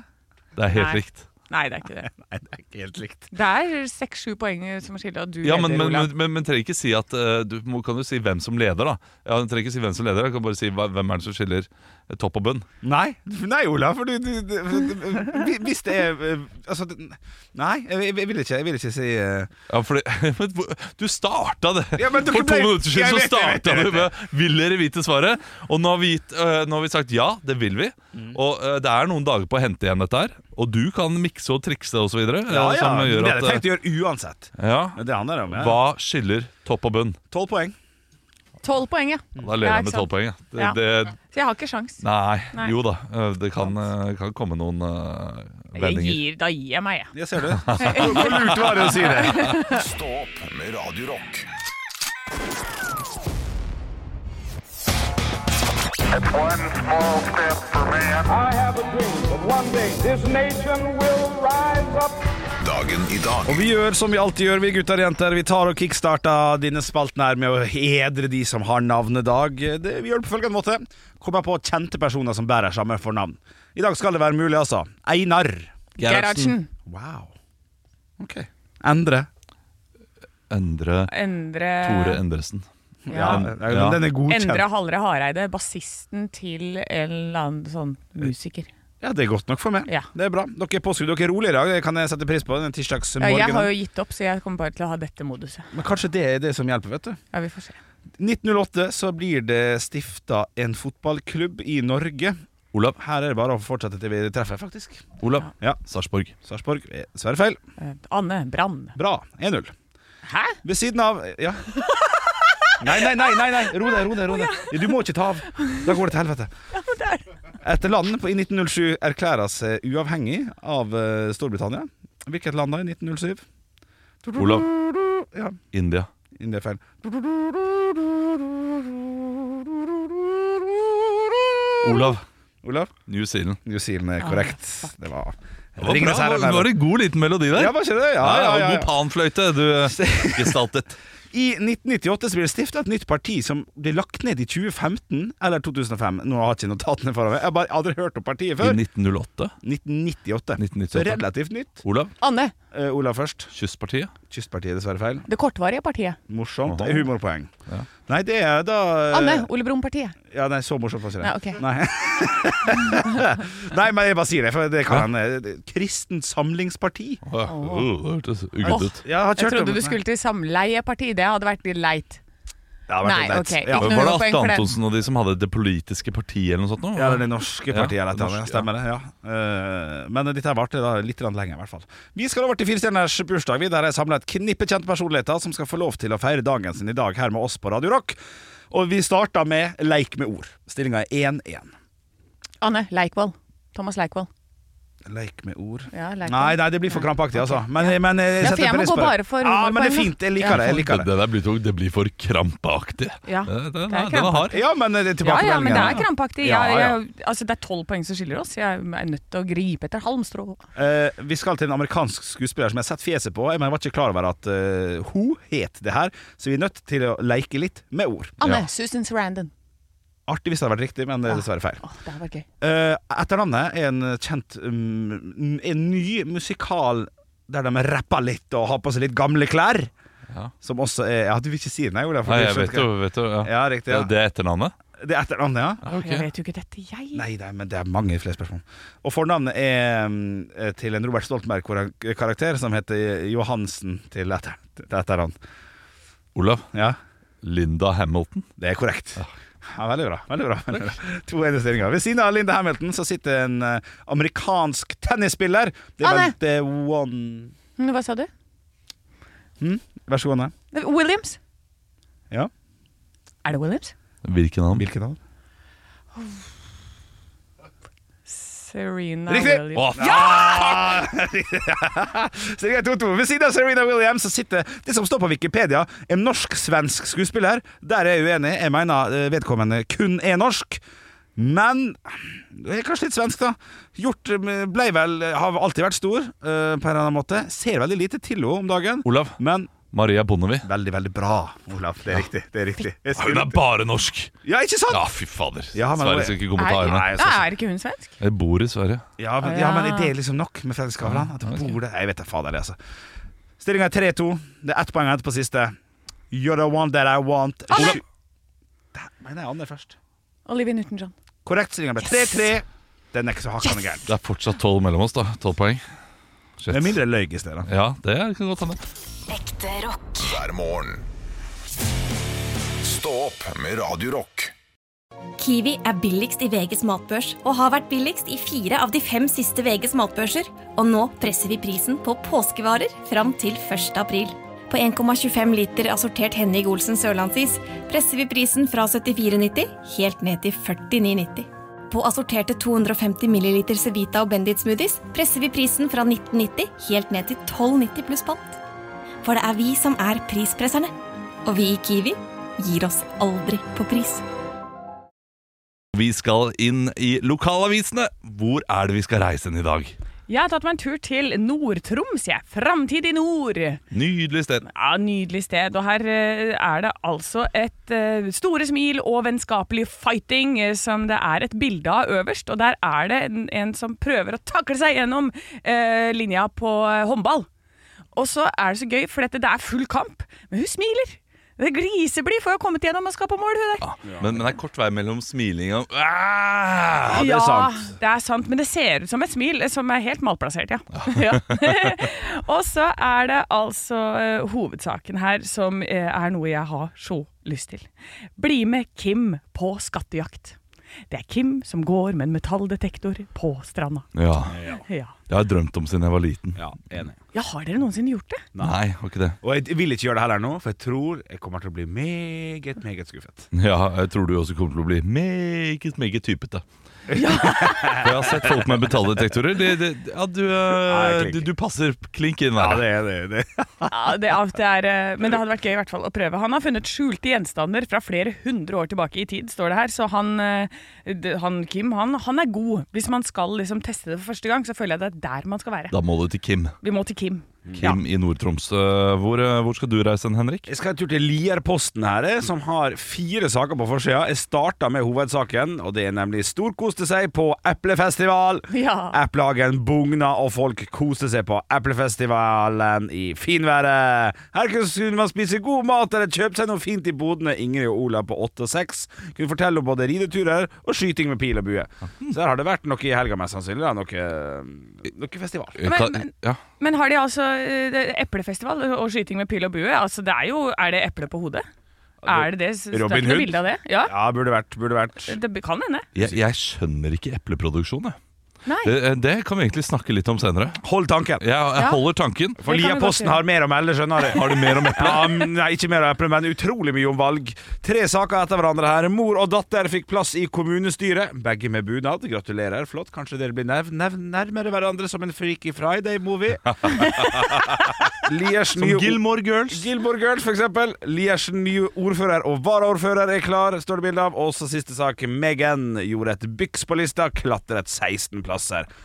Speaker 3: Det er helt
Speaker 4: Nei.
Speaker 3: likt.
Speaker 4: Nei, det er ikke det.
Speaker 2: Nei, det er ikke helt likt.
Speaker 4: Det er seks-sju poeng som skiller, og du
Speaker 3: Ja,
Speaker 4: leder,
Speaker 3: men, men,
Speaker 4: Olav.
Speaker 3: men, men, men trenger ikke si at eh, Du må, kan jo si hvem som leder, da. Ja, du trenger ikke si hvem som leder, du kan bare si hva- hvem er det som skiller eh, topp og bunn.
Speaker 2: Nei, nei Ola, for du, du, du, du Hvis det er eh, Altså, det- nei, jeg, jeg, vil ikke, jeg vil ikke si eh,
Speaker 3: Ja, fordi, men, hvor- du starta det!
Speaker 2: Ja, men dere
Speaker 3: For to
Speaker 2: ble-
Speaker 3: minutter
Speaker 2: Jeg vet, jeg vet,
Speaker 3: siden så starta
Speaker 2: jeg vet,
Speaker 3: du med 'Vil dere vite svaret?' Og nå har vi, gitt, eh, nå har vi sagt ja, det vil vi.
Speaker 2: Mm.
Speaker 3: Og eh, det er noen dager på å hente igjen dette her. Og du kan mikse og trikse og så videre. eh,
Speaker 2: Ja, ja,
Speaker 3: som
Speaker 2: det
Speaker 3: gjør
Speaker 2: hadde
Speaker 3: at,
Speaker 2: jeg tenkt å gjøre uansett.
Speaker 3: eh, ja.
Speaker 2: Det handler det om, ja.
Speaker 3: Hva skiller topp og bunn?
Speaker 2: Tolv poeng.
Speaker 4: Tolv poeng, ja.
Speaker 3: Da lever jeg
Speaker 4: ikke
Speaker 3: med
Speaker 4: sant.
Speaker 3: tolv poeng. ja. Det,
Speaker 4: Ja.
Speaker 3: det,
Speaker 4: Så jeg har ikke sjans.
Speaker 3: nei,
Speaker 4: Nei.
Speaker 3: jo da. eh, Det kan, eh, kan komme noen eh,
Speaker 4: Jeg
Speaker 3: vendinger.
Speaker 4: gir, da gir jeg meg, jeg.
Speaker 2: Ja, ser du. Hvor hvor lurt var det å si det?
Speaker 1: Stå opp med Radio Rock.
Speaker 8: One small step for man. I have a dream that one day this nation will rise up.
Speaker 1: Dagen i dag
Speaker 2: Og vi gjør som vi alltid gjør, vi gutter og jenter. Vi tar og kickstarter denne spalten her med å hedre de som har navnedag. Det, vi gjør det på følgende måte. Kommer på kjente personer som bærer samme fornavn. I dag skal det være mulig, altså. Einar.
Speaker 4: Gerhardsen.
Speaker 2: Wow. Ok. Endre.
Speaker 3: Endre
Speaker 4: Endre
Speaker 3: Tore Endresen.
Speaker 4: Ja.
Speaker 3: Ja.
Speaker 2: Den er godkjent.
Speaker 4: Endre Hallre Hareide, bassisten til en eller annen sånn musiker.
Speaker 2: Ja, det er godt nok for meg.
Speaker 4: Ja.
Speaker 2: Det er bra. Dere er påskrudd, dere er rolige i dag. Det kan jeg sette pris på. Den tirsdagsmorgenen.
Speaker 4: Jeg har jo gitt opp, så jeg kommer bare til å ha dette moduset.
Speaker 2: Men kanskje det er det som hjelper, vet du.
Speaker 4: Ja, vi får se.
Speaker 2: 1908 så blir det stifta en fotballklubb i Norge.
Speaker 3: Olav.
Speaker 2: Her er det bare å fortsette til vi treffer, faktisk.
Speaker 3: Olav.
Speaker 2: Ja.
Speaker 3: Sarpsborg.
Speaker 2: Sarpsborg eh, Sverre feil.
Speaker 4: Eh, Anne Brann.
Speaker 2: Bra. 1-0.
Speaker 4: Hæ?
Speaker 2: Ved siden av Ja. Nei, nei, nei, nei, nei. ro deg, ro deg. ro deg Du må ikke ta av. Da går det til helvete. Et land på, i 1907 erklærer seg eh, uavhengig av eh, Storbritannia. Hvilket land da, i 1907?
Speaker 3: Olav.
Speaker 2: Ja.
Speaker 3: India.
Speaker 2: Inn det er feil.
Speaker 3: Olav.
Speaker 2: Olav?
Speaker 3: New Zealand.
Speaker 2: New Zealand er korrekt. Det var
Speaker 3: Det var,
Speaker 2: Ringenes
Speaker 3: bra.
Speaker 2: herre.
Speaker 3: Det var
Speaker 2: der.
Speaker 3: en god liten melodi der.
Speaker 2: Ja, var ikke det? Ja, ja, ja,
Speaker 3: God
Speaker 2: ja.
Speaker 3: panfløyte du eh, gestaltet.
Speaker 2: I 1998 så blir det stifta et nytt parti som ble lagt ned i 2015 eller 2005. Nå har jeg ikke notatene foran meg. Jeg har bare aldri hørt om partiet
Speaker 3: I
Speaker 2: før.
Speaker 3: 1908.
Speaker 2: 1998.
Speaker 3: 1998.
Speaker 2: Så relativt nytt.
Speaker 3: Olav.
Speaker 4: Anne.
Speaker 2: Eh, Olav først.
Speaker 3: Kystpartiet.
Speaker 2: Kystpartiet, dessverre feil.
Speaker 4: Det kortvarige partiet.
Speaker 2: Morsomt.
Speaker 3: Aha.
Speaker 2: Humorpoeng.
Speaker 3: Ja.
Speaker 2: Nei, det er da eh,
Speaker 4: Anne. Ole Brumm-partiet.
Speaker 2: Ja, nei, så morsomt var ikke det.
Speaker 4: Nei, ok.
Speaker 2: Nei. nei, men jeg bare sier det, for det kan hende. Kristent Samlingsparti.
Speaker 3: Åh, åh, Det hørtes ugget ut.
Speaker 2: Ja, har ikke hørt
Speaker 4: Jeg
Speaker 2: om
Speaker 4: trodde du
Speaker 2: det.
Speaker 4: skulle til samleieparti. Det hadde vært litt leit.
Speaker 2: Ja, det har vært
Speaker 4: Nei,
Speaker 2: litt leit.
Speaker 4: ok,
Speaker 2: Ja.
Speaker 4: ikke
Speaker 3: Men Var det
Speaker 4: Poeng
Speaker 3: Atle
Speaker 4: for det.
Speaker 3: Antonsen og de som hadde Det politiske partiet eller noe sånt? Nå?
Speaker 2: Ja, det er det norske partiet
Speaker 3: Ja,
Speaker 2: eller et eller annet.
Speaker 3: norsk, ja.
Speaker 2: Stemmer det, ja. Eh, men dette her varte da litt grann lenger, i hvert fall. Vi skal over til firestjerners bursdag, vi, der jeg samler et knippe kjente personligheter som skal få lov til å feire dagen sin i dag her med oss på Radio Rock. Og vi starter med Leik med ord. Stillinga er 1-1.
Speaker 4: Anne Leikvoll. Thomas Leikvoll.
Speaker 2: Leik med ord.
Speaker 4: Ja, leik med-
Speaker 2: nei, nei, det blir for krampaktig, altså. Men, men jeg
Speaker 4: Ja, for
Speaker 2: setter
Speaker 4: jeg må
Speaker 2: pris
Speaker 4: gå
Speaker 2: på det.
Speaker 4: bare for
Speaker 2: Ja, men det er
Speaker 4: humorpoeng, da.
Speaker 2: fint. Jeg liker
Speaker 4: Ja.
Speaker 2: det. jeg liker det
Speaker 3: Det der blir, tok- det blir for krampaktig.
Speaker 4: Ja,
Speaker 3: Det, det,
Speaker 4: det er
Speaker 3: den er hard.
Speaker 2: Ja, men eh, det er
Speaker 4: Ja, ja, men det
Speaker 2: tilbakemeldingene.
Speaker 4: er krampaktig.
Speaker 2: Ja,
Speaker 4: Jeg,
Speaker 2: ja.
Speaker 4: jeg, altså, det er tolv poeng som skiller oss. Jeg er nødt til å gripe etter halmstrå.
Speaker 2: Eh, vi skal til en amerikansk skuespiller som jeg har sett fjeset på. Men jeg var ikke klar over at eh, hun het det her, så vi er nødt til å leke litt med ord.
Speaker 4: Anne, Susan Sarandon.
Speaker 2: Artig hvis det hadde vært riktig, men det er dessverre feil.
Speaker 4: Åh, det her var gøy.
Speaker 2: Eh, etternavnet er en kjent mm, En ny musikal der de rapper litt og har på seg litt gamle klær.
Speaker 3: Ja.
Speaker 2: Som også er Ja, du vil ikke si det, nei, Olav? for
Speaker 3: Nei,
Speaker 2: du
Speaker 3: jeg
Speaker 2: skjønner
Speaker 3: vet jo, vet jo ja.
Speaker 2: Ja, riktig. Ja.
Speaker 3: Det er etternavnet?
Speaker 2: Det er etternavnet, ja.
Speaker 3: Ja, ok.
Speaker 4: Jeg vet jo ikke dette, jeg.
Speaker 2: Nei, det er, men det er mange flere spørsmål. Og fornavnet er mm, til en Robert Stoltenberg-karakter som heter Johansen til etter, til etternavn.
Speaker 3: Olav.
Speaker 2: Ja,
Speaker 3: Linda Hamilton.
Speaker 2: det er korrekt. Ja, veldig bra. veldig bra, veldig bra. To ene stillinger. Ved siden av Linda Hamilton så sitter en eh, amerikansk tennisspiller. Det er
Speaker 4: Anne!
Speaker 2: vel The One Hm?
Speaker 4: Hm, Hva sa du?
Speaker 2: Vær så god, Anne.
Speaker 4: Williams?
Speaker 2: Ja.
Speaker 4: Er det Williams?
Speaker 3: Hvilken navn?
Speaker 2: Hvilket navn?
Speaker 4: Serena
Speaker 2: Riktig!
Speaker 4: Williams.
Speaker 3: Å,
Speaker 2: Stillinga er 2-2. Ved siden av Serena Williams så sitter det som står på Wikipedia, en norsk-svensk skuespiller. Der er jeg uenig. Jeg mener eh, vedkommende kun er norsk. Men det er kanskje litt svensk, da. Hjort eh, ble vel Har alltid vært stor, eh, på en eller annen måte. Ser veldig lite til henne om dagen,
Speaker 3: Olav.
Speaker 2: men
Speaker 3: Maria Bonnevie.
Speaker 2: veldig, veldig bra, Olav. Det er riktig. det er riktig Jeg
Speaker 3: Ja, Hun
Speaker 2: skulle-
Speaker 3: er bare norsk!
Speaker 2: Ja, ikke sant?
Speaker 3: Ja, fy fader.
Speaker 2: Ja, men-
Speaker 3: Sverige skal ikke komme og ta
Speaker 4: Er,
Speaker 3: henne.
Speaker 2: jeg
Speaker 4: Ja,
Speaker 2: synes-
Speaker 4: er ikke hun svensk?
Speaker 3: Jeg bor i Sverige.
Speaker 2: Ja, men, ja, men det er liksom nok med Fredrik Skavlan. At det bor der. Jeg vet da fader, det, altså. Stillinga er 3-2. Det er ett poeng igjen på siste. You're the one that I want.
Speaker 4: Anne!
Speaker 2: Sju- Der mener jeg Anne først.
Speaker 4: Olivia Newton-John.
Speaker 2: Korrekt. Stillinga ble 3-3. Den er ikke så hakkende gæren.
Speaker 3: Det er fortsatt tolv mellom oss, da. Tolv poeng. Shit.
Speaker 2: Det er mindre løy i stedet.
Speaker 3: Ja, det kan godt hende.
Speaker 6: Ekte rock.
Speaker 1: hver morgen. Stå opp med Radio Rock.
Speaker 9: Kiwi er billigst i VGs matbørs og har vært billigst i fire av de fem siste VGs matbørser. Og nå presser vi prisen på påskevarer fram til 1. april. På 1,25 liter assortert Henning Olsen sørlandsis presser vi prisen fra 74,90 helt ned til 49,90. På assorterte 250 ml Cevita og Bendit smoothies presser vi prisen fra 1990 helt ned til 12,90 pluss pant. For det er vi som er prispresserne. Og vi i Kiwi gir oss aldri på pris.
Speaker 3: Vi skal inn i lokalavisene. Hvor er det vi skal reise inn i dag?
Speaker 4: Jeg har tatt meg en tur til Nord-Troms, jeg. Framtid i nord.
Speaker 3: Nydelig sted.
Speaker 4: Ja, Nydelig sted. Og her eh, er det altså et eh, store smil og vennskapelig fighting eh, som det er et bilde av øverst. Og der er det en, en som prøver å takle seg gjennom eh, linja på eh, håndball. Og så er det så gøy, for dette, det er full kamp, men hun smiler. Det Griseblid får jo kommet gjennom og skal på mål, hun der.
Speaker 3: Ah, Men, men det er kort vei mellom smiling og ah!
Speaker 4: Ja, det er sant, men det ser ut som et smil eh, som er helt malplassert, ja. ja. og så er det altså eh, hovedsaken her som eh, er noe jeg har så lyst til. Bli med Kim på skattejakt. Det er Kim som går med en metalldetektor på stranda.
Speaker 3: Ja.
Speaker 4: Ja.
Speaker 3: Det har jeg drømt om siden jeg var liten.
Speaker 2: Ja, enig.
Speaker 4: ja, har dere noensinne gjort det?
Speaker 3: Nei, har ikke det.
Speaker 2: Og jeg vil ikke gjøre det heller nå, for jeg tror jeg kommer til å bli meget, meget skuffet.
Speaker 3: Ja, jeg tror du også kommer til å bli meget, meget typete. For jeg har sett folk med betaledetektorer. Det, det, ja, du, eh,
Speaker 2: klink.
Speaker 3: du, du passer klink inn
Speaker 2: Ja,
Speaker 3: der.
Speaker 2: det er det. det.
Speaker 4: Ja, det, at det er, eh, men det hadde vært gøy i hvert fall å prøve. Han har funnet skjulte gjenstander fra flere hundre år tilbake i tid, står det her. Så han, eh, det- han Kim, han, han er god. Hvis man skal liksom teste det for første gang, så føler jeg det er der man skal være.
Speaker 3: Da Mm. må du til Kim.
Speaker 4: Vi må til Kim.
Speaker 3: Kim i Nord-Troms. Eh, Hvor, eh, hvor skal du reise hen, Henrik?
Speaker 2: Jeg skal en tur til Lierposten her, eh, som har fire saker på forsida. Jeg starta med hovedsaken, og det er nemlig storkoste seg på eplefestival.
Speaker 4: Ja.
Speaker 2: Eplehagen bugna, og folk koste seg på eplefestivalen i finværet. Her kunne man spise god mat eller kjøpe seg noe fint i bodene. Ingrid og Ola på åtte og seks kunne fortelle om både rideturer og skyting med pil og bue. Så her har det vært noe i helga, mest sannsynlig. Da. Noe, noe festival.
Speaker 4: Men-
Speaker 3: Kan-
Speaker 4: men-
Speaker 3: ja.
Speaker 4: Men har de altså eh, det- eplefestival og skyting med pil og bue? Altså, det er jo Er det eple på hodet? Er det det? Så- så det er
Speaker 2: Robin
Speaker 4: ikke noe
Speaker 2: Hood?
Speaker 4: bilde av det? Ja.
Speaker 2: Ja, burde vært. Burde vært.
Speaker 4: Det kan hende.
Speaker 3: jeg, jeg skjønner ikke epleproduksjon, jeg.
Speaker 4: Nei.
Speaker 3: Det, eh, det kan vi egentlig snakke litt om senere.
Speaker 2: Hold tanken.
Speaker 3: Jeg, jeg
Speaker 4: Ja.
Speaker 3: holder tanken.
Speaker 2: For
Speaker 4: Det kan vi godt
Speaker 2: Lia-posten
Speaker 4: gjøre.
Speaker 2: har mer om Elle, skjønner du.
Speaker 3: Har du mer om eple?
Speaker 2: Ja, men- nei, ikke mer om eple, men utrolig mye om valg. Tre saker etter hverandre her. Mor og datter fikk plass i kommunestyret. Begge med bunad. Gratulerer. Flott. Kanskje dere blir nerv nerv nærmere hverandre som en Freaky Friday-movie. Liers
Speaker 3: Som
Speaker 2: nye o-
Speaker 3: Gilmore Girls.
Speaker 2: Gilmore Girls, for eksempel. Liers nye ordfører og varaordfører er klar, står det bilde av. Og så siste sak. Megan gjorde et byks på lista, klatret 16 plasser.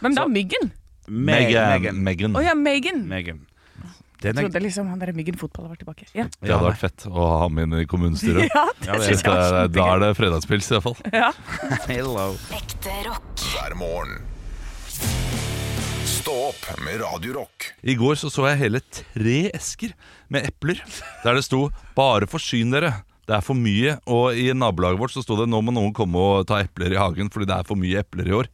Speaker 4: Hvem da?
Speaker 2: Så-
Speaker 4: Myggen?
Speaker 2: Meg-
Speaker 3: Megan.
Speaker 2: Megan.
Speaker 3: Megan.
Speaker 4: Å ja, Megan.
Speaker 2: Megan. Den
Speaker 4: Jeg
Speaker 2: er,
Speaker 4: trodde liksom han der Myggen fotball var tilbake. Ja,
Speaker 3: Det hadde vært fett å ha ham inn i kommunestyret.
Speaker 4: ja det
Speaker 2: det
Speaker 3: Det
Speaker 4: synes jeg var
Speaker 3: er- Da er
Speaker 4: kjempegøy.
Speaker 3: det fredagspils, iallfall.
Speaker 2: hello.
Speaker 6: Ekte rock.
Speaker 1: hver morgen. Stå opp med Radio Rock.
Speaker 3: I går så, så jeg hele tre esker med epler der det sto 'Bare forsyn dere'. Det er for mye, og i nabolaget vårt så sto det 'Nå må noen komme og ta epler i hagen', fordi det er for mye epler i år.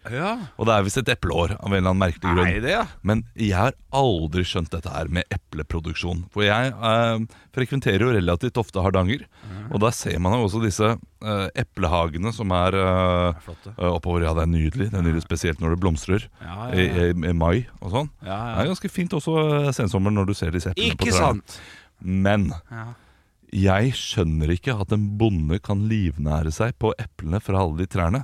Speaker 3: Og det er visst et epleår, av en eller annen merkelig grunn.
Speaker 2: Nei, det, ja.
Speaker 3: Men jeg har aldri skjønt dette her med epleproduksjon. For jeg eh, frekventerer jo relativt ofte Hardanger. Og der ser man jo også disse eh, eplehagene som er eh, eh, oppover. Ja, det er nydelig. Det er nydelig Spesielt når det blomstrer
Speaker 2: Ja, ja, ja.
Speaker 3: I, i, i mai og sånn.
Speaker 2: Ja, ja.
Speaker 3: Det er ganske fint også eh, sensommeren når du ser disse eplene på
Speaker 2: Ikke
Speaker 3: trærne.
Speaker 2: sant?
Speaker 3: Men jeg skjønner ikke at en bonde kan livnære seg på eplene fra alle de trærne.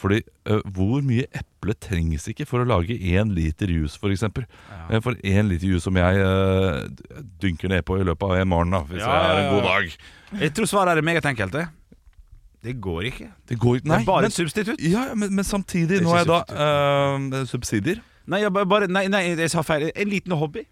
Speaker 3: Fordi ø, hvor mye eple trengs ikke for å lage én liter juice, for eksempel? Eh, For én liter juice som jeg ø, dynker ned på i løpet av en morgen, da, hvis
Speaker 2: Ja, ja,
Speaker 3: jeg har en god
Speaker 2: ja.
Speaker 3: dag.
Speaker 2: Jeg tror svaret er meget enkelt. Det Det går ikke.
Speaker 3: Det går ikke Nei,
Speaker 2: det er bare
Speaker 3: men,
Speaker 2: et substitutt.
Speaker 3: ja, ja, men, men
Speaker 2: Det
Speaker 3: samtidig,
Speaker 2: er
Speaker 3: nå har
Speaker 2: ikke
Speaker 3: jeg da ø, subsidier.
Speaker 2: Nei, jeg, ba- bare, nei, nei, jeg sa feil. En liten hobby.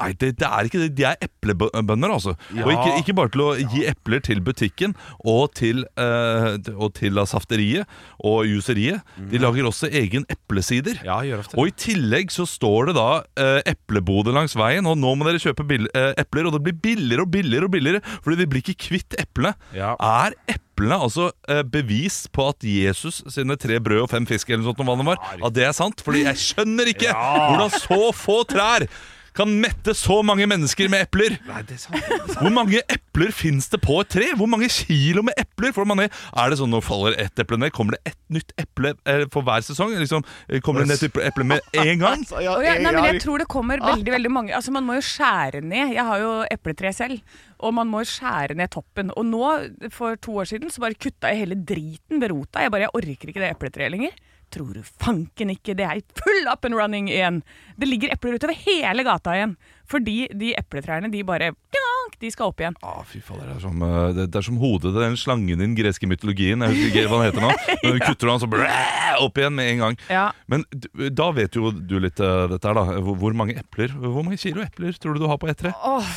Speaker 3: Nei, det, det er ikke det. De er eplebønder, altså. Og ikke, ikke bare til å gi epler til butikken og til, eh, og til da safteriet og juseriet. De lager også egen eplesider.
Speaker 2: Ja, gjør ofte det.
Speaker 3: Og i tillegg så står det da eh, epleboder langs veien, og nå må dere kjøpe bill- eh, epler, og det blir billigere og billigere og billigere, fordi de blir ikke kvitt eplene.
Speaker 2: Ja.
Speaker 3: Er eplene altså eh, bevis på at Jesus sine tre brød og fem fisk eller noe sånt, noe vannet var, at det er sant? Fordi jeg skjønner ikke hvordan så få trær kan mette så mange mennesker med epler.
Speaker 2: Nei, det er sant.
Speaker 3: Hvor mange epler finnes det på et tre? Hvor mange kilo med epler får man ned? Er det sånn når faller ett eple ned, kommer det ett nytt eple eh, for hver sesong? Liksom, eh, kommer det ned til eple med en gang?
Speaker 4: Å ja, nei, men jeg tror det kommer veldig veldig mange Altså Man må jo skjære ned. Jeg har jo epletre selv. Og man må jo skjære ned toppen. Og nå, for to år siden, så bare kutta jeg hele driten ved rota. Jeg bare, jeg orker ikke det epletreet lenger. Tror du fanken ikke det er full up and running igjen! Det ligger epler utover hele gata igjen. Fordi de epletrærne, de bare pjank, De skal opp igjen.
Speaker 3: Ah, fy faen, det er som, eh, det, det er som hodet til den slangen i den greske mytologien. Jeg husker ikke hva den heter nå. Men du kutter han så blæ, opp igjen med en gang.
Speaker 4: Ja.
Speaker 3: Men du- da vet jo du litt eh, dette her, da. Hvor, hvor mange epler Hvor mange kilo epler tror du du har på ett tre?
Speaker 4: Åh,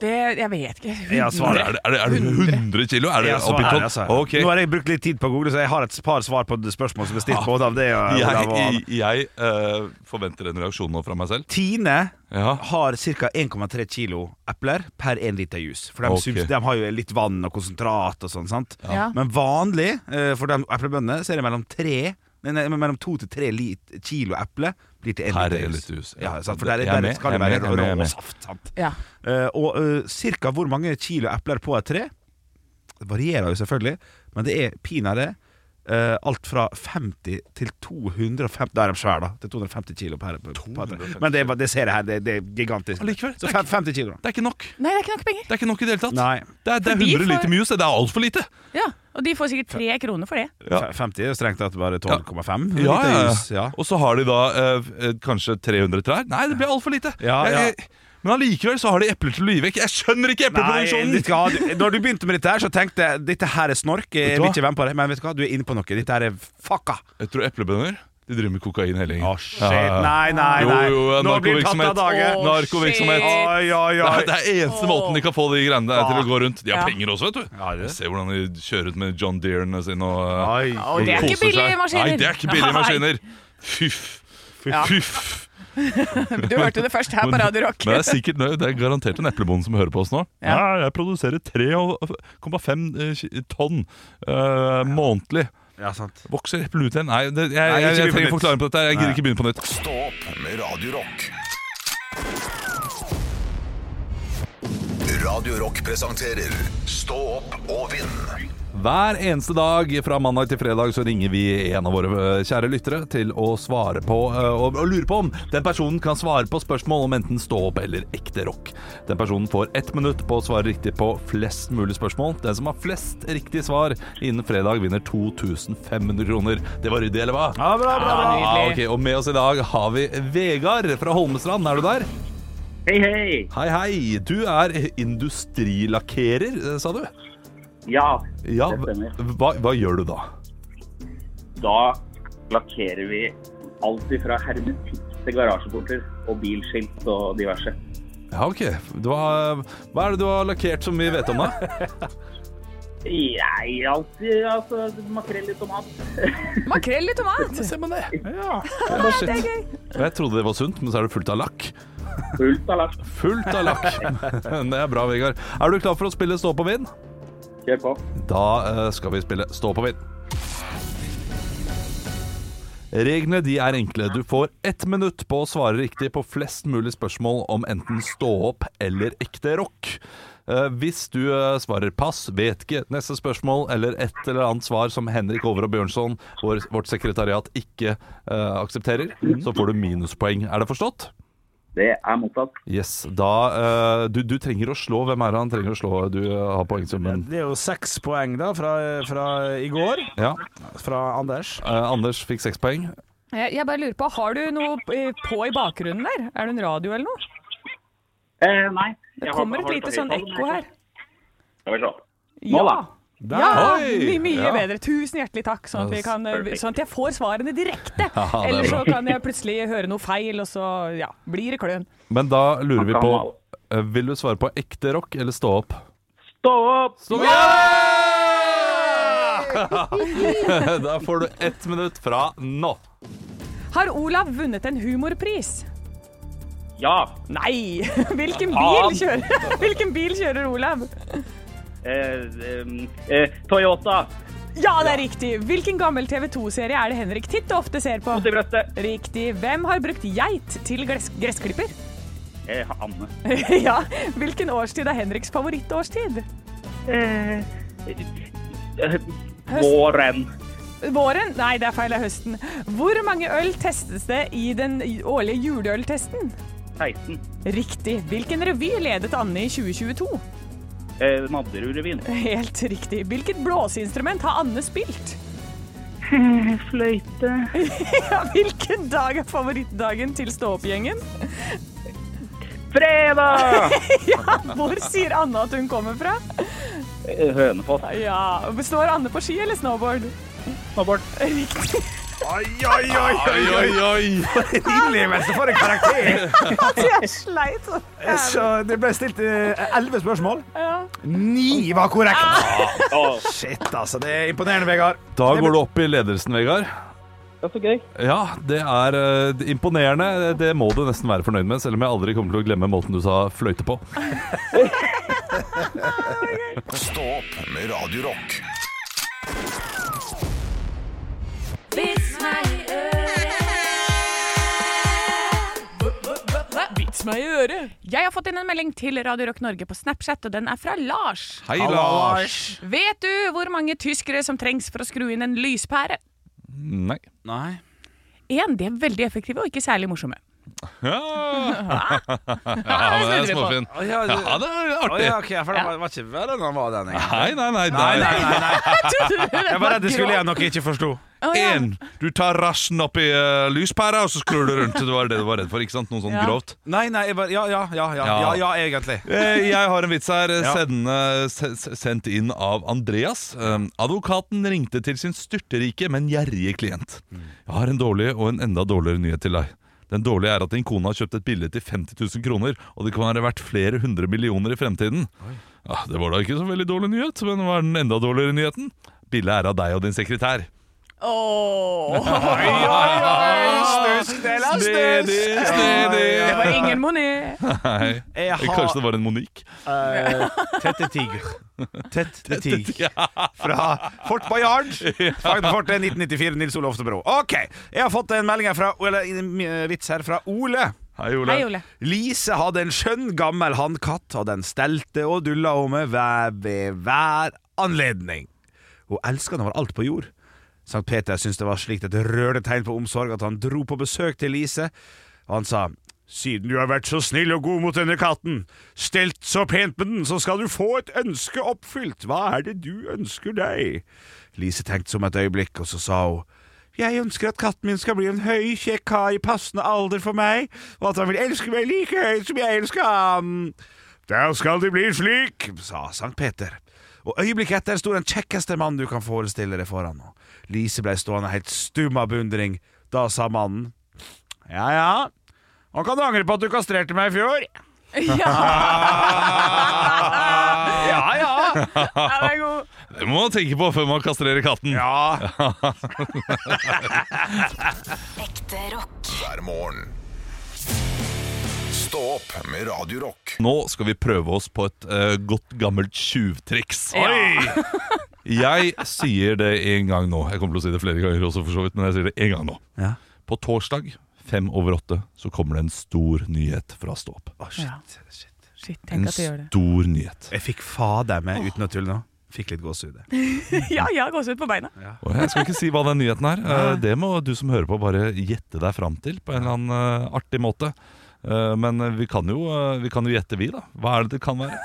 Speaker 4: det Jeg vet ikke.
Speaker 2: Ja,
Speaker 3: Er,
Speaker 2: svaret
Speaker 3: det- er, det- er det 100 kilo? Er det
Speaker 2: Ja,
Speaker 3: opp i
Speaker 2: svaret er
Speaker 3: tonn?
Speaker 2: altså.
Speaker 3: Ok.
Speaker 2: Nå har jeg brukt litt tid på å google, så jeg har et par svar på det spørsmål som er stilt. Både av det og, Olav og
Speaker 3: Ah. Jeg,
Speaker 2: Anne.
Speaker 3: jeg eh, forventer en reaksjon nå fra meg selv.
Speaker 2: Tine
Speaker 3: Ja.
Speaker 2: har ca. 1,3 kilo epler per 1 liter juice. For de,
Speaker 3: Ok.
Speaker 2: subs- de har jo litt vann og konsentrat og sånn, sant?
Speaker 4: Ja.
Speaker 2: Men vanlig eh, for de eplebøndene så er det mellom tre Nei, nei, mellom to til tre lit, kilo eple blir til en
Speaker 3: Her
Speaker 2: liter
Speaker 3: er
Speaker 2: juice.
Speaker 3: litt hus.
Speaker 2: Ja, sant? For der,
Speaker 3: Jeg er
Speaker 2: der
Speaker 3: med,
Speaker 2: skal det
Speaker 3: jeg er
Speaker 2: være
Speaker 3: med, jeg er med, jeg er
Speaker 2: rå
Speaker 3: med.
Speaker 2: saft. Sant?
Speaker 4: Ja.
Speaker 2: Eh, og eh, cirka hvor mange kilo epler på et tre Det varierer jo selvfølgelig, men det er pinadø eh, alt fra 50 til 250 Da er de svære, da. Til 250 kilo per, på, på et tre. Men det, er bare- det ser jeg her, det, det er gigantisk.
Speaker 3: Allikevel,
Speaker 2: Så
Speaker 3: det er
Speaker 2: fem- 50 kilo. da.
Speaker 3: Det er ikke nok.
Speaker 4: Nei, det er ikke nok penger.
Speaker 3: Det er ikke nok i det hele tatt.
Speaker 2: Nei.
Speaker 3: Det er, det er
Speaker 4: Fordi
Speaker 3: 100
Speaker 4: for-
Speaker 3: liter muse. Det er altfor lite.
Speaker 4: Ja, Og de får sikkert tre kroner for det.
Speaker 3: Ja.
Speaker 2: Fe- 50 er jo strengt tatt bare 12,5.
Speaker 3: Ja,
Speaker 2: Lite
Speaker 3: ja,
Speaker 2: hus,
Speaker 3: ja.
Speaker 2: ja.
Speaker 3: Og så har de da eh, eh, kanskje 300 trær. Nei, det blir altfor lite.
Speaker 2: Ja, ja.
Speaker 3: Jeg- jeg- men allikevel så har de epler til å gi vekk. Jeg skjønner ikke
Speaker 2: Nei,
Speaker 3: epleproduksjonen!
Speaker 2: vet du hva, du- når du begynte med dette her, så tenkte jeg dette her er snork.
Speaker 3: Vet
Speaker 2: Jeg
Speaker 3: du
Speaker 2: vil
Speaker 3: hva?
Speaker 2: ikke være med på det, men vet du hva, du er inne på noe. Dette her er fucka.
Speaker 3: Jeg tror eplebønder de driver med kokain hele gjengen.
Speaker 2: Å, shit. Nei, nei,
Speaker 3: Jo,
Speaker 2: nei.
Speaker 3: jo,
Speaker 2: Nå blir det tatt
Speaker 3: narkovirksomhet.
Speaker 2: av dage.
Speaker 4: Å,
Speaker 3: Narkovirksomhet.
Speaker 4: shit.
Speaker 2: Oi, oi,
Speaker 3: Det
Speaker 2: oi.
Speaker 3: er, det er eneste måten de kan få de greiene der til å gå rundt. De har
Speaker 4: Ja.
Speaker 3: penger også, vet du.
Speaker 2: Ja, det er det.
Speaker 3: Se hvordan de kjører ut med John Deere-ene sine og eh,
Speaker 2: Oi.
Speaker 4: Og det er ikke
Speaker 3: koser seg.
Speaker 4: billige maskiner.
Speaker 3: Nei, det er ikke billige
Speaker 4: Nei.
Speaker 3: maskiner. Fyff.
Speaker 4: Ja.
Speaker 3: Fyff.
Speaker 4: Du hørte det først her på Radio Rock.
Speaker 3: Men det er sikkert nø- det er garantert en eplebonde som hører på oss nå. Ja.
Speaker 4: Ja.
Speaker 3: jeg produserer 3,5 eh, ki- tonn eh, månedlig.
Speaker 2: Ja, sant.
Speaker 3: Vokser eple ut igjen? Nei, det, jeg,
Speaker 2: Nei,
Speaker 3: jeg,
Speaker 2: ikke begynn
Speaker 3: jeg,
Speaker 2: på
Speaker 3: trenger
Speaker 2: nytt.
Speaker 3: forklaring på dette. her. Jeg gidder ikke begynne på nytt.
Speaker 1: Stå opp med Radio Rock. Radio Rock presenterer Stå opp og vinn
Speaker 3: Hver eneste dag fra mandag til fredag så ringer vi en av våre eh, kjære lyttere til å svare på eh, og, og lure på om den personen kan svare på spørsmål om enten stå opp eller ekte rock. Den personen får ett minutt på å svare riktig på flest mulig spørsmål. Den som har flest riktige svar innen fredag, vinner 2500 kroner. Det var ryddig, eller hva?
Speaker 2: Ja, bra, bra, bra.
Speaker 3: Ah,
Speaker 4: Nydelig.
Speaker 3: ok, og med oss i dag har vi Vegard fra Holmestrand. Er du der?
Speaker 10: Hei, hei.
Speaker 3: Hei, hei. Du er industrilakkerer, eh, sa du?
Speaker 10: Ja,
Speaker 3: Ja.
Speaker 10: Det stemmer.
Speaker 3: Hva, hva gjør du da?
Speaker 10: da lakkerer vi alt ifra hermetikk til garasjeporter og bilskilt og diverse.
Speaker 3: Ja, ok. Du har, hva er det du har lakkert som vi vet om, da?
Speaker 10: Jeg alltid, altså, makrell i tomat.
Speaker 4: Makrell i tomat!
Speaker 3: Se på det. Ja, shit. Jeg trodde det var sunt, men så er det fullt av lakk.
Speaker 10: Fullt av laks.
Speaker 3: Fullt av lakk. Det er bra, Vegard. Er du klar for å spille Stå på vind?
Speaker 10: Kjør på.
Speaker 3: Da eh, skal vi spille Stå på vind. Reglene de er enkle. Du får ett minutt på å svare riktig på flest mulig spørsmål om enten stå opp eller ekte rock. Eh, Hvis du eh, svarer pass, vet ikke, neste spørsmål eller et eller annet svar som Henrik Over og Bjørnson, vår, vårt sekretariat, ikke eh, aksepterer, så får du minuspoeng. Er det forstått?
Speaker 10: Det er mottatt.
Speaker 3: Yes. Da eh, du, du trenger å slå. Hvem er det han trenger å slå? Du eh, har poengsummen.
Speaker 2: Det er jo seks poeng da fra, fra i går,
Speaker 3: Ja.
Speaker 2: fra Anders.
Speaker 3: Eh, Anders fikk seks poeng.
Speaker 4: Eh, Jeg jeg bare lurer på, har du noe eh, på i bakgrunnen der? Er det en radio eller noe?
Speaker 10: Eh, nei.
Speaker 4: Det kommer et lite sånn ekko her.
Speaker 10: Skal vi se.
Speaker 4: Ja!
Speaker 2: Der.
Speaker 4: ja
Speaker 3: Oi!
Speaker 4: mye, mye
Speaker 3: Ja.
Speaker 4: bedre. Tusen hjertelig takk, sånn at, vi kan, eh, sånn at jeg får svarene direkte.
Speaker 3: Ja, det er
Speaker 4: Eller så
Speaker 3: bra.
Speaker 4: kan jeg plutselig høre noe feil, og så ja, blir det kløn.
Speaker 3: Men da lurer vi
Speaker 10: kan
Speaker 3: på
Speaker 10: male.
Speaker 3: eh, Vil du svare på ekte rock eller stå opp?
Speaker 10: Stå opp!
Speaker 3: Stå opp! da får du ett minutt fra nå.
Speaker 4: Har Olav vunnet en humorpris?
Speaker 10: Ja.
Speaker 4: Nei! Hvilken
Speaker 10: Faen.
Speaker 4: bil kjører, Hvilken bil kjører Olav?
Speaker 10: Eh, eh, eh, Toyota.
Speaker 4: Ja, det er riktig! Hvilken gammel TV 2-serie er det Henrik titt og ofte ser på?
Speaker 10: Mot i brøstet.
Speaker 4: Riktig. Hvem har brukt geit til gress gressklipper?
Speaker 10: Eh, Anne.
Speaker 4: ja. Hvilken årstid er Henriks favorittårstid?
Speaker 10: Eh, eh, våren.
Speaker 4: Våren? Nei, det er feil. Det er høsten. Hvor mange øl testes det i den årlige juleøltesten?
Speaker 10: 16.
Speaker 4: Riktig. Hvilken revy ledet Anne i 2022?
Speaker 10: Eh, Madderudrevyen.
Speaker 4: Helt riktig. Hvilket blåseinstrument har Anne spilt? Eh,
Speaker 10: Fløyte.
Speaker 4: Ja, hvilken dag er favorittdagen til stå-opp-gjengen?
Speaker 10: Fredag!
Speaker 4: Hvor sier Anne at hun kommer fra?
Speaker 10: Eh, Hønefoss.
Speaker 4: Ja, Står Anne på ski eller snowboard?
Speaker 10: Snowboard.
Speaker 4: Riktig.
Speaker 2: Oi, oi, oi,
Speaker 3: Oi, oi, oi!
Speaker 2: Innlevelse for en karakter!
Speaker 4: Altså, jeg sleit så
Speaker 2: Så det ble stilt eh, elleve spørsmål.
Speaker 4: Ja.
Speaker 2: Ni var korrekt!
Speaker 10: Å,
Speaker 2: Shit, altså. Det er imponerende, Vegard.
Speaker 3: Da går du opp i ledelsen, Vegard.
Speaker 10: det er så gøy.
Speaker 3: Ja, det er eh, imponerende. Det må du nesten være fornøyd med, selv om jeg aldri kommer til å glemme måten du sa fløyte på.
Speaker 1: Stå opp med Radio Rock.
Speaker 4: Vits meg i øret. Jeg har fått inn en melding til Radio Rock Norge på Snapchat, og den er fra Lars.
Speaker 3: Hei, Lars.
Speaker 4: Vet du hvor mange tyskere som trengs for å skru inn en lyspære?
Speaker 3: Nei.
Speaker 2: Nei.
Speaker 4: En, de er veldig effektive og ikke særlig morsomme.
Speaker 3: Ja, men det er
Speaker 4: snudde vi på.
Speaker 3: småfin.
Speaker 2: Å, ja, du-
Speaker 3: Ja, det er
Speaker 2: Å,
Speaker 3: artig.
Speaker 2: ja, ok, for det var, var ikke verre enn han var den. egentlig.
Speaker 3: Nei, nei, nei.
Speaker 2: Nei,
Speaker 3: nei.
Speaker 2: nei, nei, nei. Jeg var redd det skulle
Speaker 4: Grå.
Speaker 2: jeg nok ikke forsto.
Speaker 4: Å, ja.
Speaker 3: En, du tar rassen opp i uh, lyspæra, og så skrur du rundt. Det var det du var redd for, ikke sant? Noe sånn
Speaker 4: Ja.
Speaker 3: grovt.
Speaker 2: Nei, nei, jeg bare Ja, ja, ja, ja, ja,
Speaker 3: Ja.
Speaker 2: ja egentlig.
Speaker 3: Eh, Jeg har en vits her, eh,
Speaker 2: Ja.
Speaker 3: sendende- se- se- sendt inn av Andreas. Um, Advokaten ringte til sin styrterike, men gjerrige klient. Jeg har en dårlig og en enda dårligere nyhet til deg. Den dårlige er at din kone har kjøpt et bilde til 50 000 kroner, og det kan være verdt flere hundre millioner i fremtiden. Ja, det var da ikke så veldig dårlig nyhet, men hva er den enda dårligere nyheten? Bildet er av deg og din sekretær.
Speaker 4: Åh.
Speaker 2: Snusk, det er
Speaker 3: Snedig, snedig!
Speaker 4: Det var ingen Monet.
Speaker 3: Nei,
Speaker 2: Jeg
Speaker 3: kanskje
Speaker 2: har
Speaker 3: det var en Monique?
Speaker 2: Tette Tiger. Tette Tiger. Fra Fort Bayard. Fortet 1994, Nils Ole Oftebro. OK. Jeg har fått en melding her fra Eller en vits her fra Ole.
Speaker 3: Hei, Ole.
Speaker 4: Hei, Ole.
Speaker 2: Lise hadde en skjønn gammel hannkatt, og den stelte og dulla henne ved hver anledning. og elska den over alt på jord. Sankt Peter syntes det var slikt et rørende tegn på omsorg at han dro på besøk til Lise, og han sa siden du har vært så snill og god mot denne katten, stelt så pent med den, så skal du få et ønske oppfylt. Hva er det du ønsker deg? Lise tenkte som et øyeblikk, og så sa hun jeg ønsker at katten min skal bli en høy, kjekk kar i passende alder for meg, og at han vil elske meg like høyt som jeg elsker ham. Da skal det bli slik, sa Sankt Peter. Og øyeblikket etter sto den kjekkeste mannen du kan forestille deg foran henne. Lise ble stående helt stum av beundring. Da sa mannen, ja ja, nå kan du angre på at du kastrerte meg i fjor. Ja ja.
Speaker 4: Den er god.
Speaker 3: Det må man tenke på før man kastrerer katten.
Speaker 2: Ja,
Speaker 6: Ekte rock.
Speaker 1: hver morgen. Stå opp med Radio Rock.
Speaker 3: Nå skal vi prøve oss på et eh, godt gammelt tjuvtriks. Jeg sier det en gang nå. Jeg kommer til å si det flere ganger også, for så vidt, men jeg sier det en gang nå.
Speaker 2: Ja.
Speaker 3: På torsdag fem over åtte så kommer det en stor nyhet fra Stå opp.
Speaker 4: Ja. Shit,
Speaker 3: En
Speaker 4: tenk at du gjør det.
Speaker 3: stor nyhet.
Speaker 2: jeg fikk fader meg uten å tulle nå. Fikk litt gåsehud.
Speaker 4: Ja, ja, gåsehud på beina.
Speaker 3: Og jeg skal ikke si hva den nyheten er. Eh, Det må du som hører på, bare gjette deg fram til på en eller annen eh, artig måte. Eh, Men vi kan, jo, eh, vi kan jo gjette, vi, da. Hva er det det kan være?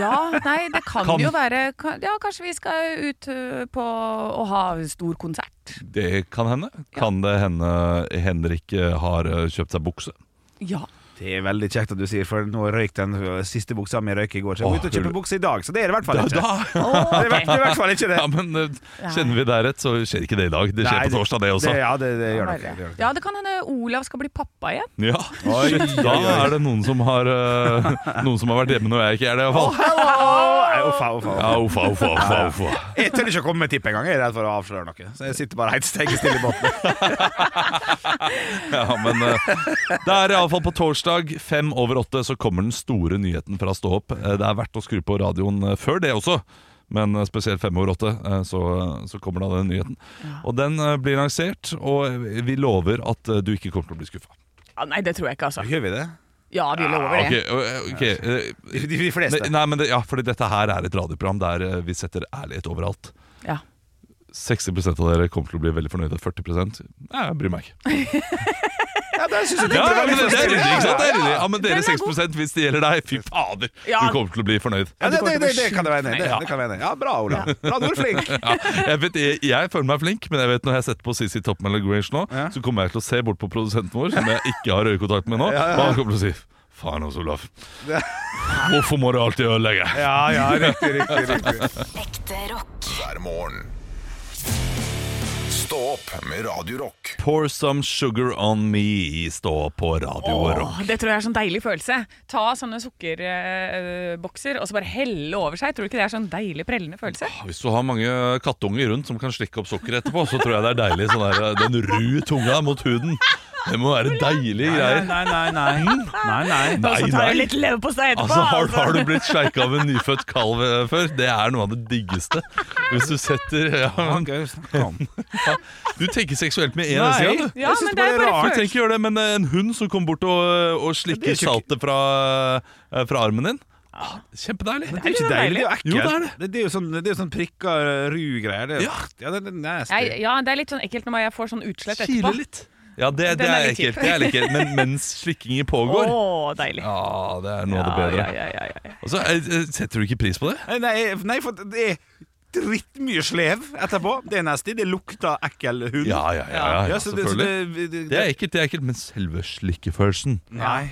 Speaker 4: Ja, nei, det kan,
Speaker 3: Kan.
Speaker 4: jo være ka- Ja, kanskje vi skal ut ø, på å ha stor konsert.
Speaker 3: Det kan hende. Kan det hende Henrik eh, har eh, kjøpt seg bukse?
Speaker 4: Ja.
Speaker 2: Det er veldig kjekt at du sier, for nå røyk den siste buksa mi røyk i går. Så jeg må
Speaker 3: Åh,
Speaker 2: ut og kjøpe
Speaker 3: kul.
Speaker 2: bukse i dag, så det er det i hvert fall
Speaker 3: Da,
Speaker 2: ikke. Det
Speaker 3: da.
Speaker 2: er i hvert- det er i hvert fall ikke det.
Speaker 3: Ja, men eh, kjenner vi deg rett, så skjer ikke det i dag. Det skjer
Speaker 2: Nei,
Speaker 3: på torsdag, det også.
Speaker 2: Det, ja, det, det gjør nok det. Gjør nok.
Speaker 4: ja, det kan hende Olav skal bli pappa igjen.
Speaker 3: Ja. da er det noen som har eh, Noen som har vært hjemme når jeg ikke er det, iallfall.
Speaker 2: Nei, uffa, uffa, uffa.
Speaker 3: Ja, uffa, uffa, uffa, uffa.
Speaker 2: Jeg tør ikke å komme med tipp engang. Jeg er redd for å avsløre noe. Så jeg sitter bare helt stengestille i båten.
Speaker 3: Ja, men eh, det er iallfall på torsdag fem over åtte så kommer den store nyheten fra Stå opp. Eh, det er verdt å skru på radioen eh, før det også. Men eh, spesielt fem over åtte, eh, så, så kommer da den nyheten. Og den eh, blir lansert, og vi lover at eh, du ikke kommer til å bli skuffa.
Speaker 4: Ja, nei, det tror jeg ikke, altså.
Speaker 2: Gjør vi det?
Speaker 4: Ja, vi lover
Speaker 3: Ok,
Speaker 4: det.
Speaker 3: eh, ok, eh,
Speaker 2: De, de, de fleste.
Speaker 3: Nei, men det, ja, fordi dette her er et radioprogram der eh, vi setter ærlighet overalt.
Speaker 4: Ja.
Speaker 3: 60 av dere kommer til å bli veldig fornøyde. 40 Nei, jeg bryr meg ikke.
Speaker 2: Ja, det synes jeg
Speaker 3: Ja,
Speaker 2: det var
Speaker 3: men
Speaker 2: litt
Speaker 3: det er ryddig, ikke sant? Det er ryddig. Ja, men
Speaker 4: Den
Speaker 3: dere
Speaker 4: er
Speaker 3: 6 hvis det gjelder deg, fy fader,
Speaker 4: Ja.
Speaker 3: du kommer til å bli fornøyd.
Speaker 2: Ja, det, det, det, det kan jeg være enig i. Det, det kan jeg være enig i. Ja, bra, Ola. Bra, du er flink.
Speaker 3: Ja, jeg, vet, jeg, jeg føler meg flink, men jeg vet når jeg setter på CC Topman eller Grange nå,
Speaker 2: Ja.
Speaker 3: så kommer jeg til å se bort på produsenten vår, som jeg ikke har øyekontakt med nå,
Speaker 2: Ja, ja, ja.
Speaker 3: og han kommer til å si Faen også, Olaf. Hvorfor må du alltid ødelegge?
Speaker 2: Ja, ja, riktig, riktig. riktig.
Speaker 6: Ekte rock.
Speaker 1: hver morgen. Stå opp med Radio Rock.
Speaker 3: Pour some sugar on me, stå på radio og rock.
Speaker 4: Åh, det tror jeg er sånn deilig følelse. Ta sånne sukkerbokser og så bare helle over seg. Tror du ikke det er sånn deilig prellende følelse?
Speaker 3: Hvis du har mange kattunger rundt som kan slikke opp sukkeret etterpå, så tror jeg det er deilig. Sånn der, den ru tunga mot huden. Det må være deilige greier.
Speaker 11: Nei, nei, nei. nei, nei.
Speaker 4: Og så
Speaker 3: Nei,
Speaker 4: tar
Speaker 3: nei.
Speaker 4: jeg litt leverpostei etterpå.
Speaker 3: Altså, har,
Speaker 4: altså.
Speaker 3: har du blitt sleika av en nyfødt kalv eh, før? Det er noe av det diggeste. Hvis du setter ja, men,
Speaker 11: Gøy, snakk om.
Speaker 3: Du tenker seksuelt med en eneste gang, du.
Speaker 4: Ja, men det er bare
Speaker 3: Du
Speaker 4: følelse.
Speaker 3: trenger ikke gjøre det, men eh, en hund som kommer bort og, og slikker saltet fra, eh, fra armen din ah, Kjempedeilig.
Speaker 2: Det er jo ikke deilig, det er jo ekkelt.
Speaker 3: Jo, det er det.
Speaker 11: Det, det er jo sånn, det er jo sånn prikka ru-greier. Det er jo
Speaker 3: Ja.
Speaker 11: ja, det, det er
Speaker 4: Nei,
Speaker 11: nasty.
Speaker 4: ja, det er litt sånn ekkelt når jeg får sånn utslett etterpå.
Speaker 3: Kile litt. Ja, det, det
Speaker 4: Den er
Speaker 3: er
Speaker 4: litt kjip.
Speaker 3: ekkelt. Det er ekkelt. Men mens slikkingen
Speaker 4: Å,
Speaker 3: pågår
Speaker 4: deilig.
Speaker 3: Ja, det er noe av det bedre.
Speaker 4: Ja, ja, ja, ja.
Speaker 3: Altså, eh, eh, Setter du ikke pris på det?
Speaker 11: Nei, nei, nei, for det er drittmye slev etterpå. Det er nasty. Det lukter ekkel hund.
Speaker 3: Ja, ja, ja, ja,
Speaker 11: Ja,
Speaker 3: ja
Speaker 11: så det-
Speaker 3: selvfølgelig.
Speaker 11: så det- det-
Speaker 3: Det er ekkelt, det er ekkelt, men selve slikkefølelsen
Speaker 11: Nei.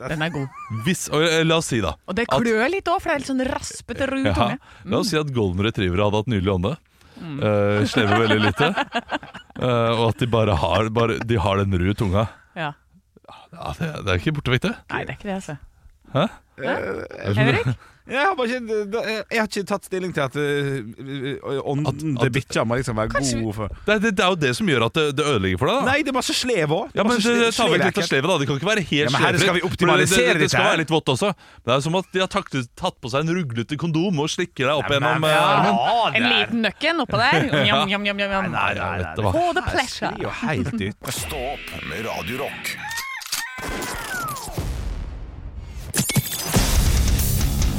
Speaker 4: Den er god.
Speaker 3: Hvis, og, eh, La oss si da
Speaker 4: Og det
Speaker 3: At-
Speaker 4: klør litt òg, for det er litt sånn raspete, ru
Speaker 3: ja,
Speaker 4: tunge.
Speaker 3: La oss si at golden retrievere hadde hatt nydelig ånde eh, Slever veldig lite eh, Og at de bare har, bare, de har den rue tunga
Speaker 4: Ja.
Speaker 3: ja, det, det er ikke bortevekt det
Speaker 4: Nei, det er ikke det, altså.
Speaker 3: Hæ?
Speaker 4: Henrik?
Speaker 11: Jeg har, bare ikke, da- jeg har ikke tatt stilling til at eh, øh, øh, ånden
Speaker 3: At-
Speaker 11: til
Speaker 3: at-
Speaker 11: bikkja må liksom være
Speaker 4: Kanskje vi-
Speaker 11: god for
Speaker 3: Det, det, det er jo det som gjør at det, det ødelegger for deg da
Speaker 11: Nei, altså, det er masse slev òg.
Speaker 3: Ja, men det, det tar vel litt av slevet da Det kan ikke være helt
Speaker 11: Ja, men her
Speaker 3: slevfritt,
Speaker 11: skal vi
Speaker 3: for det-
Speaker 11: optimalisere
Speaker 3: det, det, det
Speaker 11: dette
Speaker 3: skal
Speaker 11: her.
Speaker 3: være litt vått også Det er som at de har takt, tatt på seg en ruglete kondom Og slikker deg opp gjennom eh, armen
Speaker 4: En liten nøkken oppå der. Njam, njam, njam, njam, njam.
Speaker 3: Nei, jeg vet det hva
Speaker 4: Oh, the pleasure.
Speaker 11: jo helt ut.
Speaker 1: Stå opp med Radio Rock.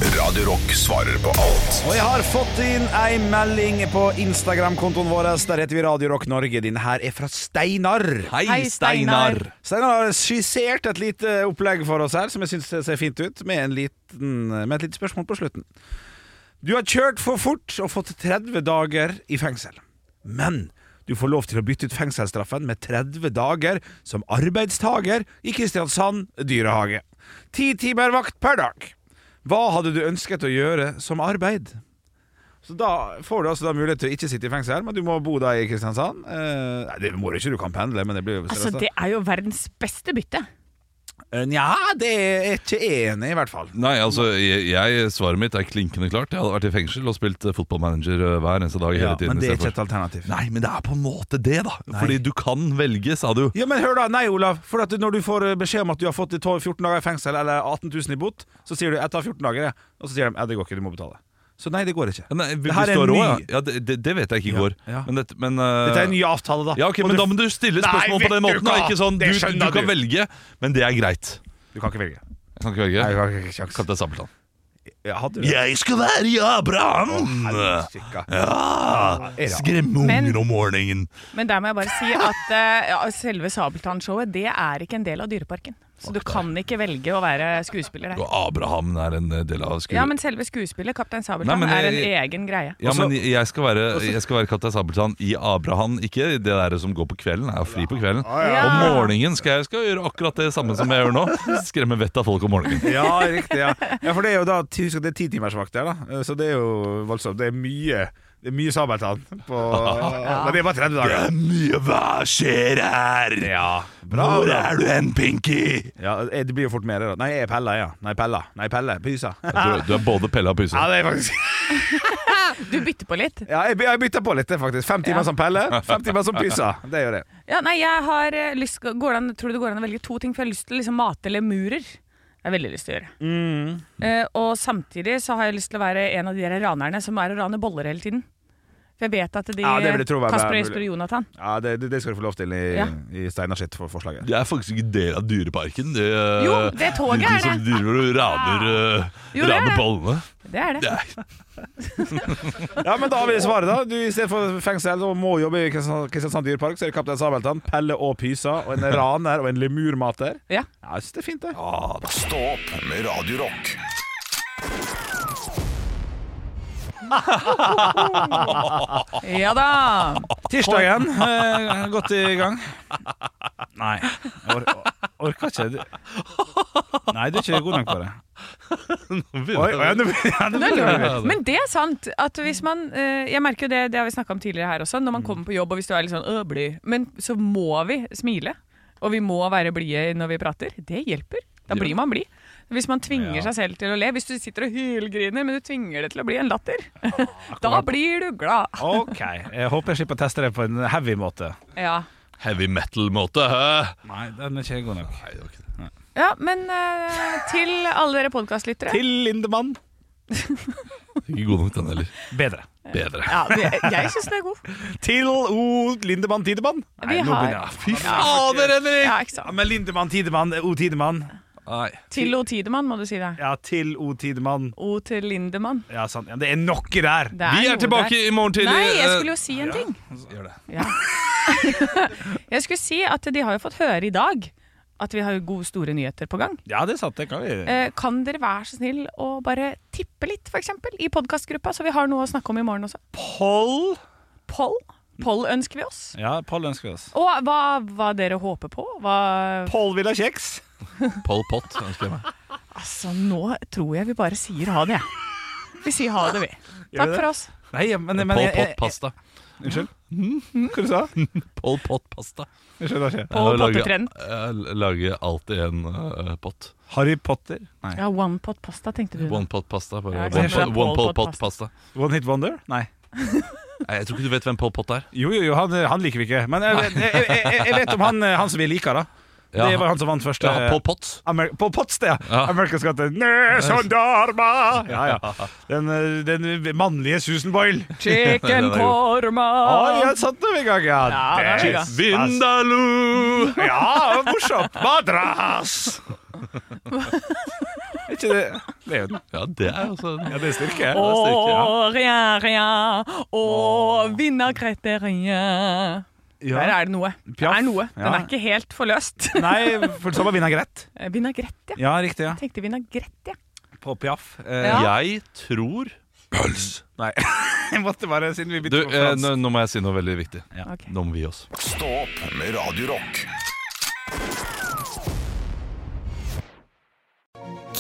Speaker 1: Radio Radio Rock svarer på alt.
Speaker 2: Og jeg har fått inn ei melding på Instagram-kontoen vår. Der heter vi Radio Rock Norge. Din her er fra Steinar.
Speaker 3: Hei, Hei, Steinar. Steinar.
Speaker 2: Steinar har skissert et lite opplegg for oss her, som jeg syns ser fint ut, med, en liten, med et lite spørsmål på slutten. Du har kjørt for fort og fått 30 dager i fengsel. Men du får lov til å bytte ut fengselsstraffen med 30 dager som arbeidstager i Kristiansand dyrehage. Ti timer vakt per dag. Hva hadde du ønsket å gjøre som arbeid? Så Da får du altså da mulighet til å ikke sitte i fengsel, men du må bo der i Kristiansand. Eh, nei, det må du ikke, du kan pendle, men det blir jo
Speaker 4: Altså, det er jo verdens beste bytte.
Speaker 2: Eh, Nja, det er jeg ikke enig i, i hvert fall.
Speaker 3: Nei, altså, jeg, jeg, svaret mitt er klinkende klart. Jeg hadde vært i fengsel og spilt eh, fotballmanager eh, hver eneste dag
Speaker 2: Ja,
Speaker 3: hele tiden.
Speaker 2: men det er
Speaker 3: istedenfor.
Speaker 2: ikke et alternativ.
Speaker 3: Nei, men det er på en måte det, da. Fordi du kan velge, sa du.
Speaker 2: Ja, men hør da, Nei, Olav. For at når du får eh, beskjed om at du har fått 12 14 dager i fengsel eller 18 000 i bot, så sier du 'jeg tar 14 dager', jeg». og så sier de 'ja, det går ikke, du må betale'. Så nei, det går ikke.
Speaker 3: Ja, Nei,
Speaker 2: Det her
Speaker 3: hvis
Speaker 2: er
Speaker 3: du har
Speaker 2: en
Speaker 3: råd, ja.
Speaker 2: ny-
Speaker 3: ja det, det, det vet jeg ikke i går.
Speaker 2: ja.
Speaker 3: Men, dette, men, eh,
Speaker 2: Dette er en ny avtale, da.
Speaker 3: ja, ok,
Speaker 2: Må
Speaker 3: men
Speaker 2: du-
Speaker 3: Da må du stille spørsmål
Speaker 2: Nei,
Speaker 3: på
Speaker 2: vet
Speaker 3: den
Speaker 2: du
Speaker 3: måten. Da.
Speaker 2: hva?
Speaker 3: Ikke sånn, du,
Speaker 2: Det
Speaker 3: du,
Speaker 2: skjønner
Speaker 3: kan
Speaker 2: du.
Speaker 3: velge, men det er greit.
Speaker 2: Du kan ikke velge.
Speaker 3: Jeg kan ikke velge.
Speaker 2: Nei, du kan ikke sjans.
Speaker 3: Kaptein Sabeltann.
Speaker 2: Ja, hadde du det?
Speaker 3: Jeg skal være i Abraham!
Speaker 2: Helsika.
Speaker 3: Ja,
Speaker 2: Ja.
Speaker 3: Skremme
Speaker 4: Men-
Speaker 3: unger om morgenen.
Speaker 4: Men der må jeg bare si at eh, ja, selve Sabeltann-showet det er ikke en del av Dyreparken. Så du kan ikke velge å være skuespiller
Speaker 3: Og
Speaker 4: der.
Speaker 3: Abrahamn er en eh, del av skuespillet.
Speaker 4: Ja, men selve skuespillet, Kaptein
Speaker 3: Nei,
Speaker 4: Sabeltann,
Speaker 3: men
Speaker 4: er en
Speaker 3: jeg-
Speaker 4: egen greie.
Speaker 3: Ja, men jeg skal være, jeg skal være Kaptein Sabeltann i Abraham, ikke det der som går på kvelden. Jeg er fri på kvelden.
Speaker 4: ja.
Speaker 3: Om morgenen skal jeg skal gjøre akkurat det samme som jeg gjør nå. Skremme vettet av folk om morgenen.
Speaker 2: Ja, riktig. Ja. ja, for det er jo da Husk at det er titimersvakt der, da. Eh, Så det er jo voldsomt. Det er mye Det er mye Sabeltann på Men det er bare 30 dager.
Speaker 3: mye hva skjer her? Hvor er du hen, Pinky?
Speaker 2: Ja, eh, Det blir jo fort mer. da. Nei, jeg er Pella, ja. Nei, Pella. Nei, Pelle. Pysa.
Speaker 3: Du, du er både Pelle og Pyse.
Speaker 2: Ja, det er faktisk
Speaker 4: Du bytter på litt.
Speaker 2: Ja, jeg, by- jeg bytter på litt, det, faktisk. Fem timer
Speaker 4: Ja.
Speaker 2: som Pelle, fem timer som Pysa. Det gjør jeg.
Speaker 4: Ja, nei, jeg har eh, lyst går det an, Tror du det går an å velge to ting? For jeg har lyst til å liksom mate lemurer. Det har jeg veldig lyst til å gjøre.
Speaker 2: Mm.
Speaker 4: Eh, og samtidig så har jeg lyst til å være en av de der ranerne som er og raner boller hele tiden. For jeg vet at de eh,
Speaker 2: Ja, det vil jeg tro er
Speaker 4: Kasper,
Speaker 2: mulig.
Speaker 4: Jesper og Jonathan
Speaker 2: Ja, det, det, det skal du få lov til i,
Speaker 4: Ja.
Speaker 2: i Steinar sitt for forslaget.
Speaker 3: Det er faktisk ikke del av Dyreparken. Det,
Speaker 4: Jo, det toget er
Speaker 3: Du som
Speaker 4: det.
Speaker 3: driver og eh, raner,
Speaker 4: Jo,
Speaker 3: jo,
Speaker 4: det er det.
Speaker 3: raner bollene.
Speaker 4: Det er det.
Speaker 3: Det er
Speaker 2: Ja, men da har vi svaret, da. Du, I stedet for fengsel og må jobbe i Kristiansand Kristiansand dyrepark, så er det Kaptein Sabeltann, Pelle og Pysa, og en raner og en lemurmater.
Speaker 4: Ja.
Speaker 2: Ja, jeg synes det er fint, det.
Speaker 1: Stå opp med Radio Rock.
Speaker 4: ja da!
Speaker 12: Tirsdagen eh, godt i gang. Nei, or orka ikke. Du- Nei, du er ikke god nok på det.
Speaker 2: Oi, oi, ja, nå- ja, nå-
Speaker 4: Det er lurt. Men det er sant. At hvis man, eh, jeg merker jo det, det har vi snakka om tidligere her også. Når
Speaker 12: Mm.
Speaker 4: man kommer på jobb og hvis du er litt sånn øh, blid, men så må vi smile. Og vi må være blide når vi prater. Det hjelper. Da blir man blid. Hvis man tvinger seg selv til å le. Hvis du sitter og hylgriner, men du tvinger det til å bli en latter. da blir du glad.
Speaker 12: OK. Jeg håper jeg slipper å teste det på en heavy måte.
Speaker 4: Ja,
Speaker 3: heavy metal-måte. hæ?
Speaker 12: Nei, den er ikke god nok.
Speaker 4: ja men eh, til alle dere podkastlyttere.
Speaker 12: Til Lindemann.
Speaker 3: Ikke god nok, den heller.
Speaker 12: Bedre.
Speaker 3: Bedre.
Speaker 4: Ja, det- jeg syns den er god.
Speaker 12: Til O. Lindemann Tidemann.
Speaker 4: Vi har
Speaker 12: Fy
Speaker 3: Fader, Henrik!
Speaker 4: ja, ikke
Speaker 12: Ja,
Speaker 4: sant.
Speaker 12: men Lindemann Tidemann, O Tidemann.
Speaker 3: Nei.
Speaker 4: Til O. Tidemann, må du si det.
Speaker 12: Ja, til O Tidemann.
Speaker 4: O. til Lindemann.
Speaker 12: Ja, sant. Ja, det er noe der.
Speaker 4: Det
Speaker 3: Vi
Speaker 4: noe
Speaker 3: er tilbake
Speaker 4: der.
Speaker 3: i morgen tidlig.
Speaker 4: Nei, jeg
Speaker 3: Eh,
Speaker 4: skulle jo si en ting.
Speaker 12: altså,
Speaker 3: gjør det.
Speaker 4: Ja. jeg skulle si at de har jo fått høre i dag at vi har jo gode, store nyheter på gang.
Speaker 12: Ja, det satt det. Kan vi.
Speaker 4: Eh, kan dere være så snill å bare tippe litt, f.eks., i podkastgruppa, så vi har noe å snakke om i morgen også?
Speaker 12: Poll.
Speaker 4: Poll. Poll ønsker vi oss.
Speaker 12: Ja, poll ønsker vi oss.
Speaker 4: Og hva, hva dere håper på? Hva
Speaker 12: Poll vil ha kjeks.
Speaker 3: Pol Pot ønsker jeg meg.
Speaker 4: Altså, nå tror jeg vi bare sier ha det, jeg. Vi sier ha det, vi.
Speaker 12: Gjør vi
Speaker 4: Takk
Speaker 12: det?
Speaker 4: for oss.
Speaker 12: Nei, men, men
Speaker 3: Pol
Speaker 12: jeg- jeg-
Speaker 3: Pot-pasta.
Speaker 12: Hva du sa du?
Speaker 3: Pol Pot-pasta.
Speaker 12: Jeg skjønner ikke.
Speaker 4: Pol
Speaker 3: Jeg lager-
Speaker 4: Pot-trend.
Speaker 3: Jeg lager eh, alltid en eh, pot.
Speaker 12: Harry Potter? Nei.
Speaker 4: Ja, one pot pasta, tenkte du.
Speaker 3: One pot-pasta.
Speaker 4: Ja,
Speaker 3: Bare
Speaker 4: ikke
Speaker 3: one pot-
Speaker 4: sant. Pol
Speaker 3: one Pol
Speaker 4: Pot-pasta.
Speaker 3: Pot-pasta.
Speaker 12: One Hit Wonder? Nei.
Speaker 3: Nei, Jeg tror ikke du vet hvem Pol Pot er.
Speaker 12: Jo, jo, jo, han, eh, han liker vi ikke. Men eh, jeg, jeg, jeg, jeg, jeg vet om han, eh, han som vi liker, da. Det var han som vant første
Speaker 3: ja, Pol Pot.
Speaker 12: Amer Pol Potts, det, ja.
Speaker 3: Ja.
Speaker 12: Amerikas gate. Nesondarma! Ja, ja. Den, eh, den mannlige Susan Boyle.
Speaker 4: Chicken korma!
Speaker 12: Ah, ja, satt den i gang, ja.
Speaker 4: Ja, den er
Speaker 12: Det-
Speaker 4: digga.
Speaker 3: Vindaloo!
Speaker 12: Ja, morsomt. Madras! Er ikke det
Speaker 2: Det er jo
Speaker 3: Ja, det er altså
Speaker 2: ja, det er styrke.
Speaker 4: Å,
Speaker 3: det er styrke, ja.
Speaker 4: regjeringen, å, vinnerkriteriet.
Speaker 2: Ja.
Speaker 4: Der er det noe. Det
Speaker 2: Piaf,
Speaker 4: er noe. Den
Speaker 2: ja.
Speaker 4: er ikke helt forløst.
Speaker 2: Nei, for så var vinaigrette.
Speaker 4: Vinagrett, ja.
Speaker 2: Ja, riktig. ja
Speaker 4: Jeg tenkte vinagrett, ja.
Speaker 2: På Piaf. Eh,
Speaker 4: Ja.
Speaker 3: Jeg tror
Speaker 2: Nei. Jeg måtte bare, siden vi
Speaker 3: Du,
Speaker 2: bytter på
Speaker 3: eh,
Speaker 2: fransk.
Speaker 3: nå, nå må jeg si noe veldig viktig.
Speaker 4: Ok.
Speaker 3: Nå må vi gi oss.
Speaker 1: Stå opp med Radio Rock.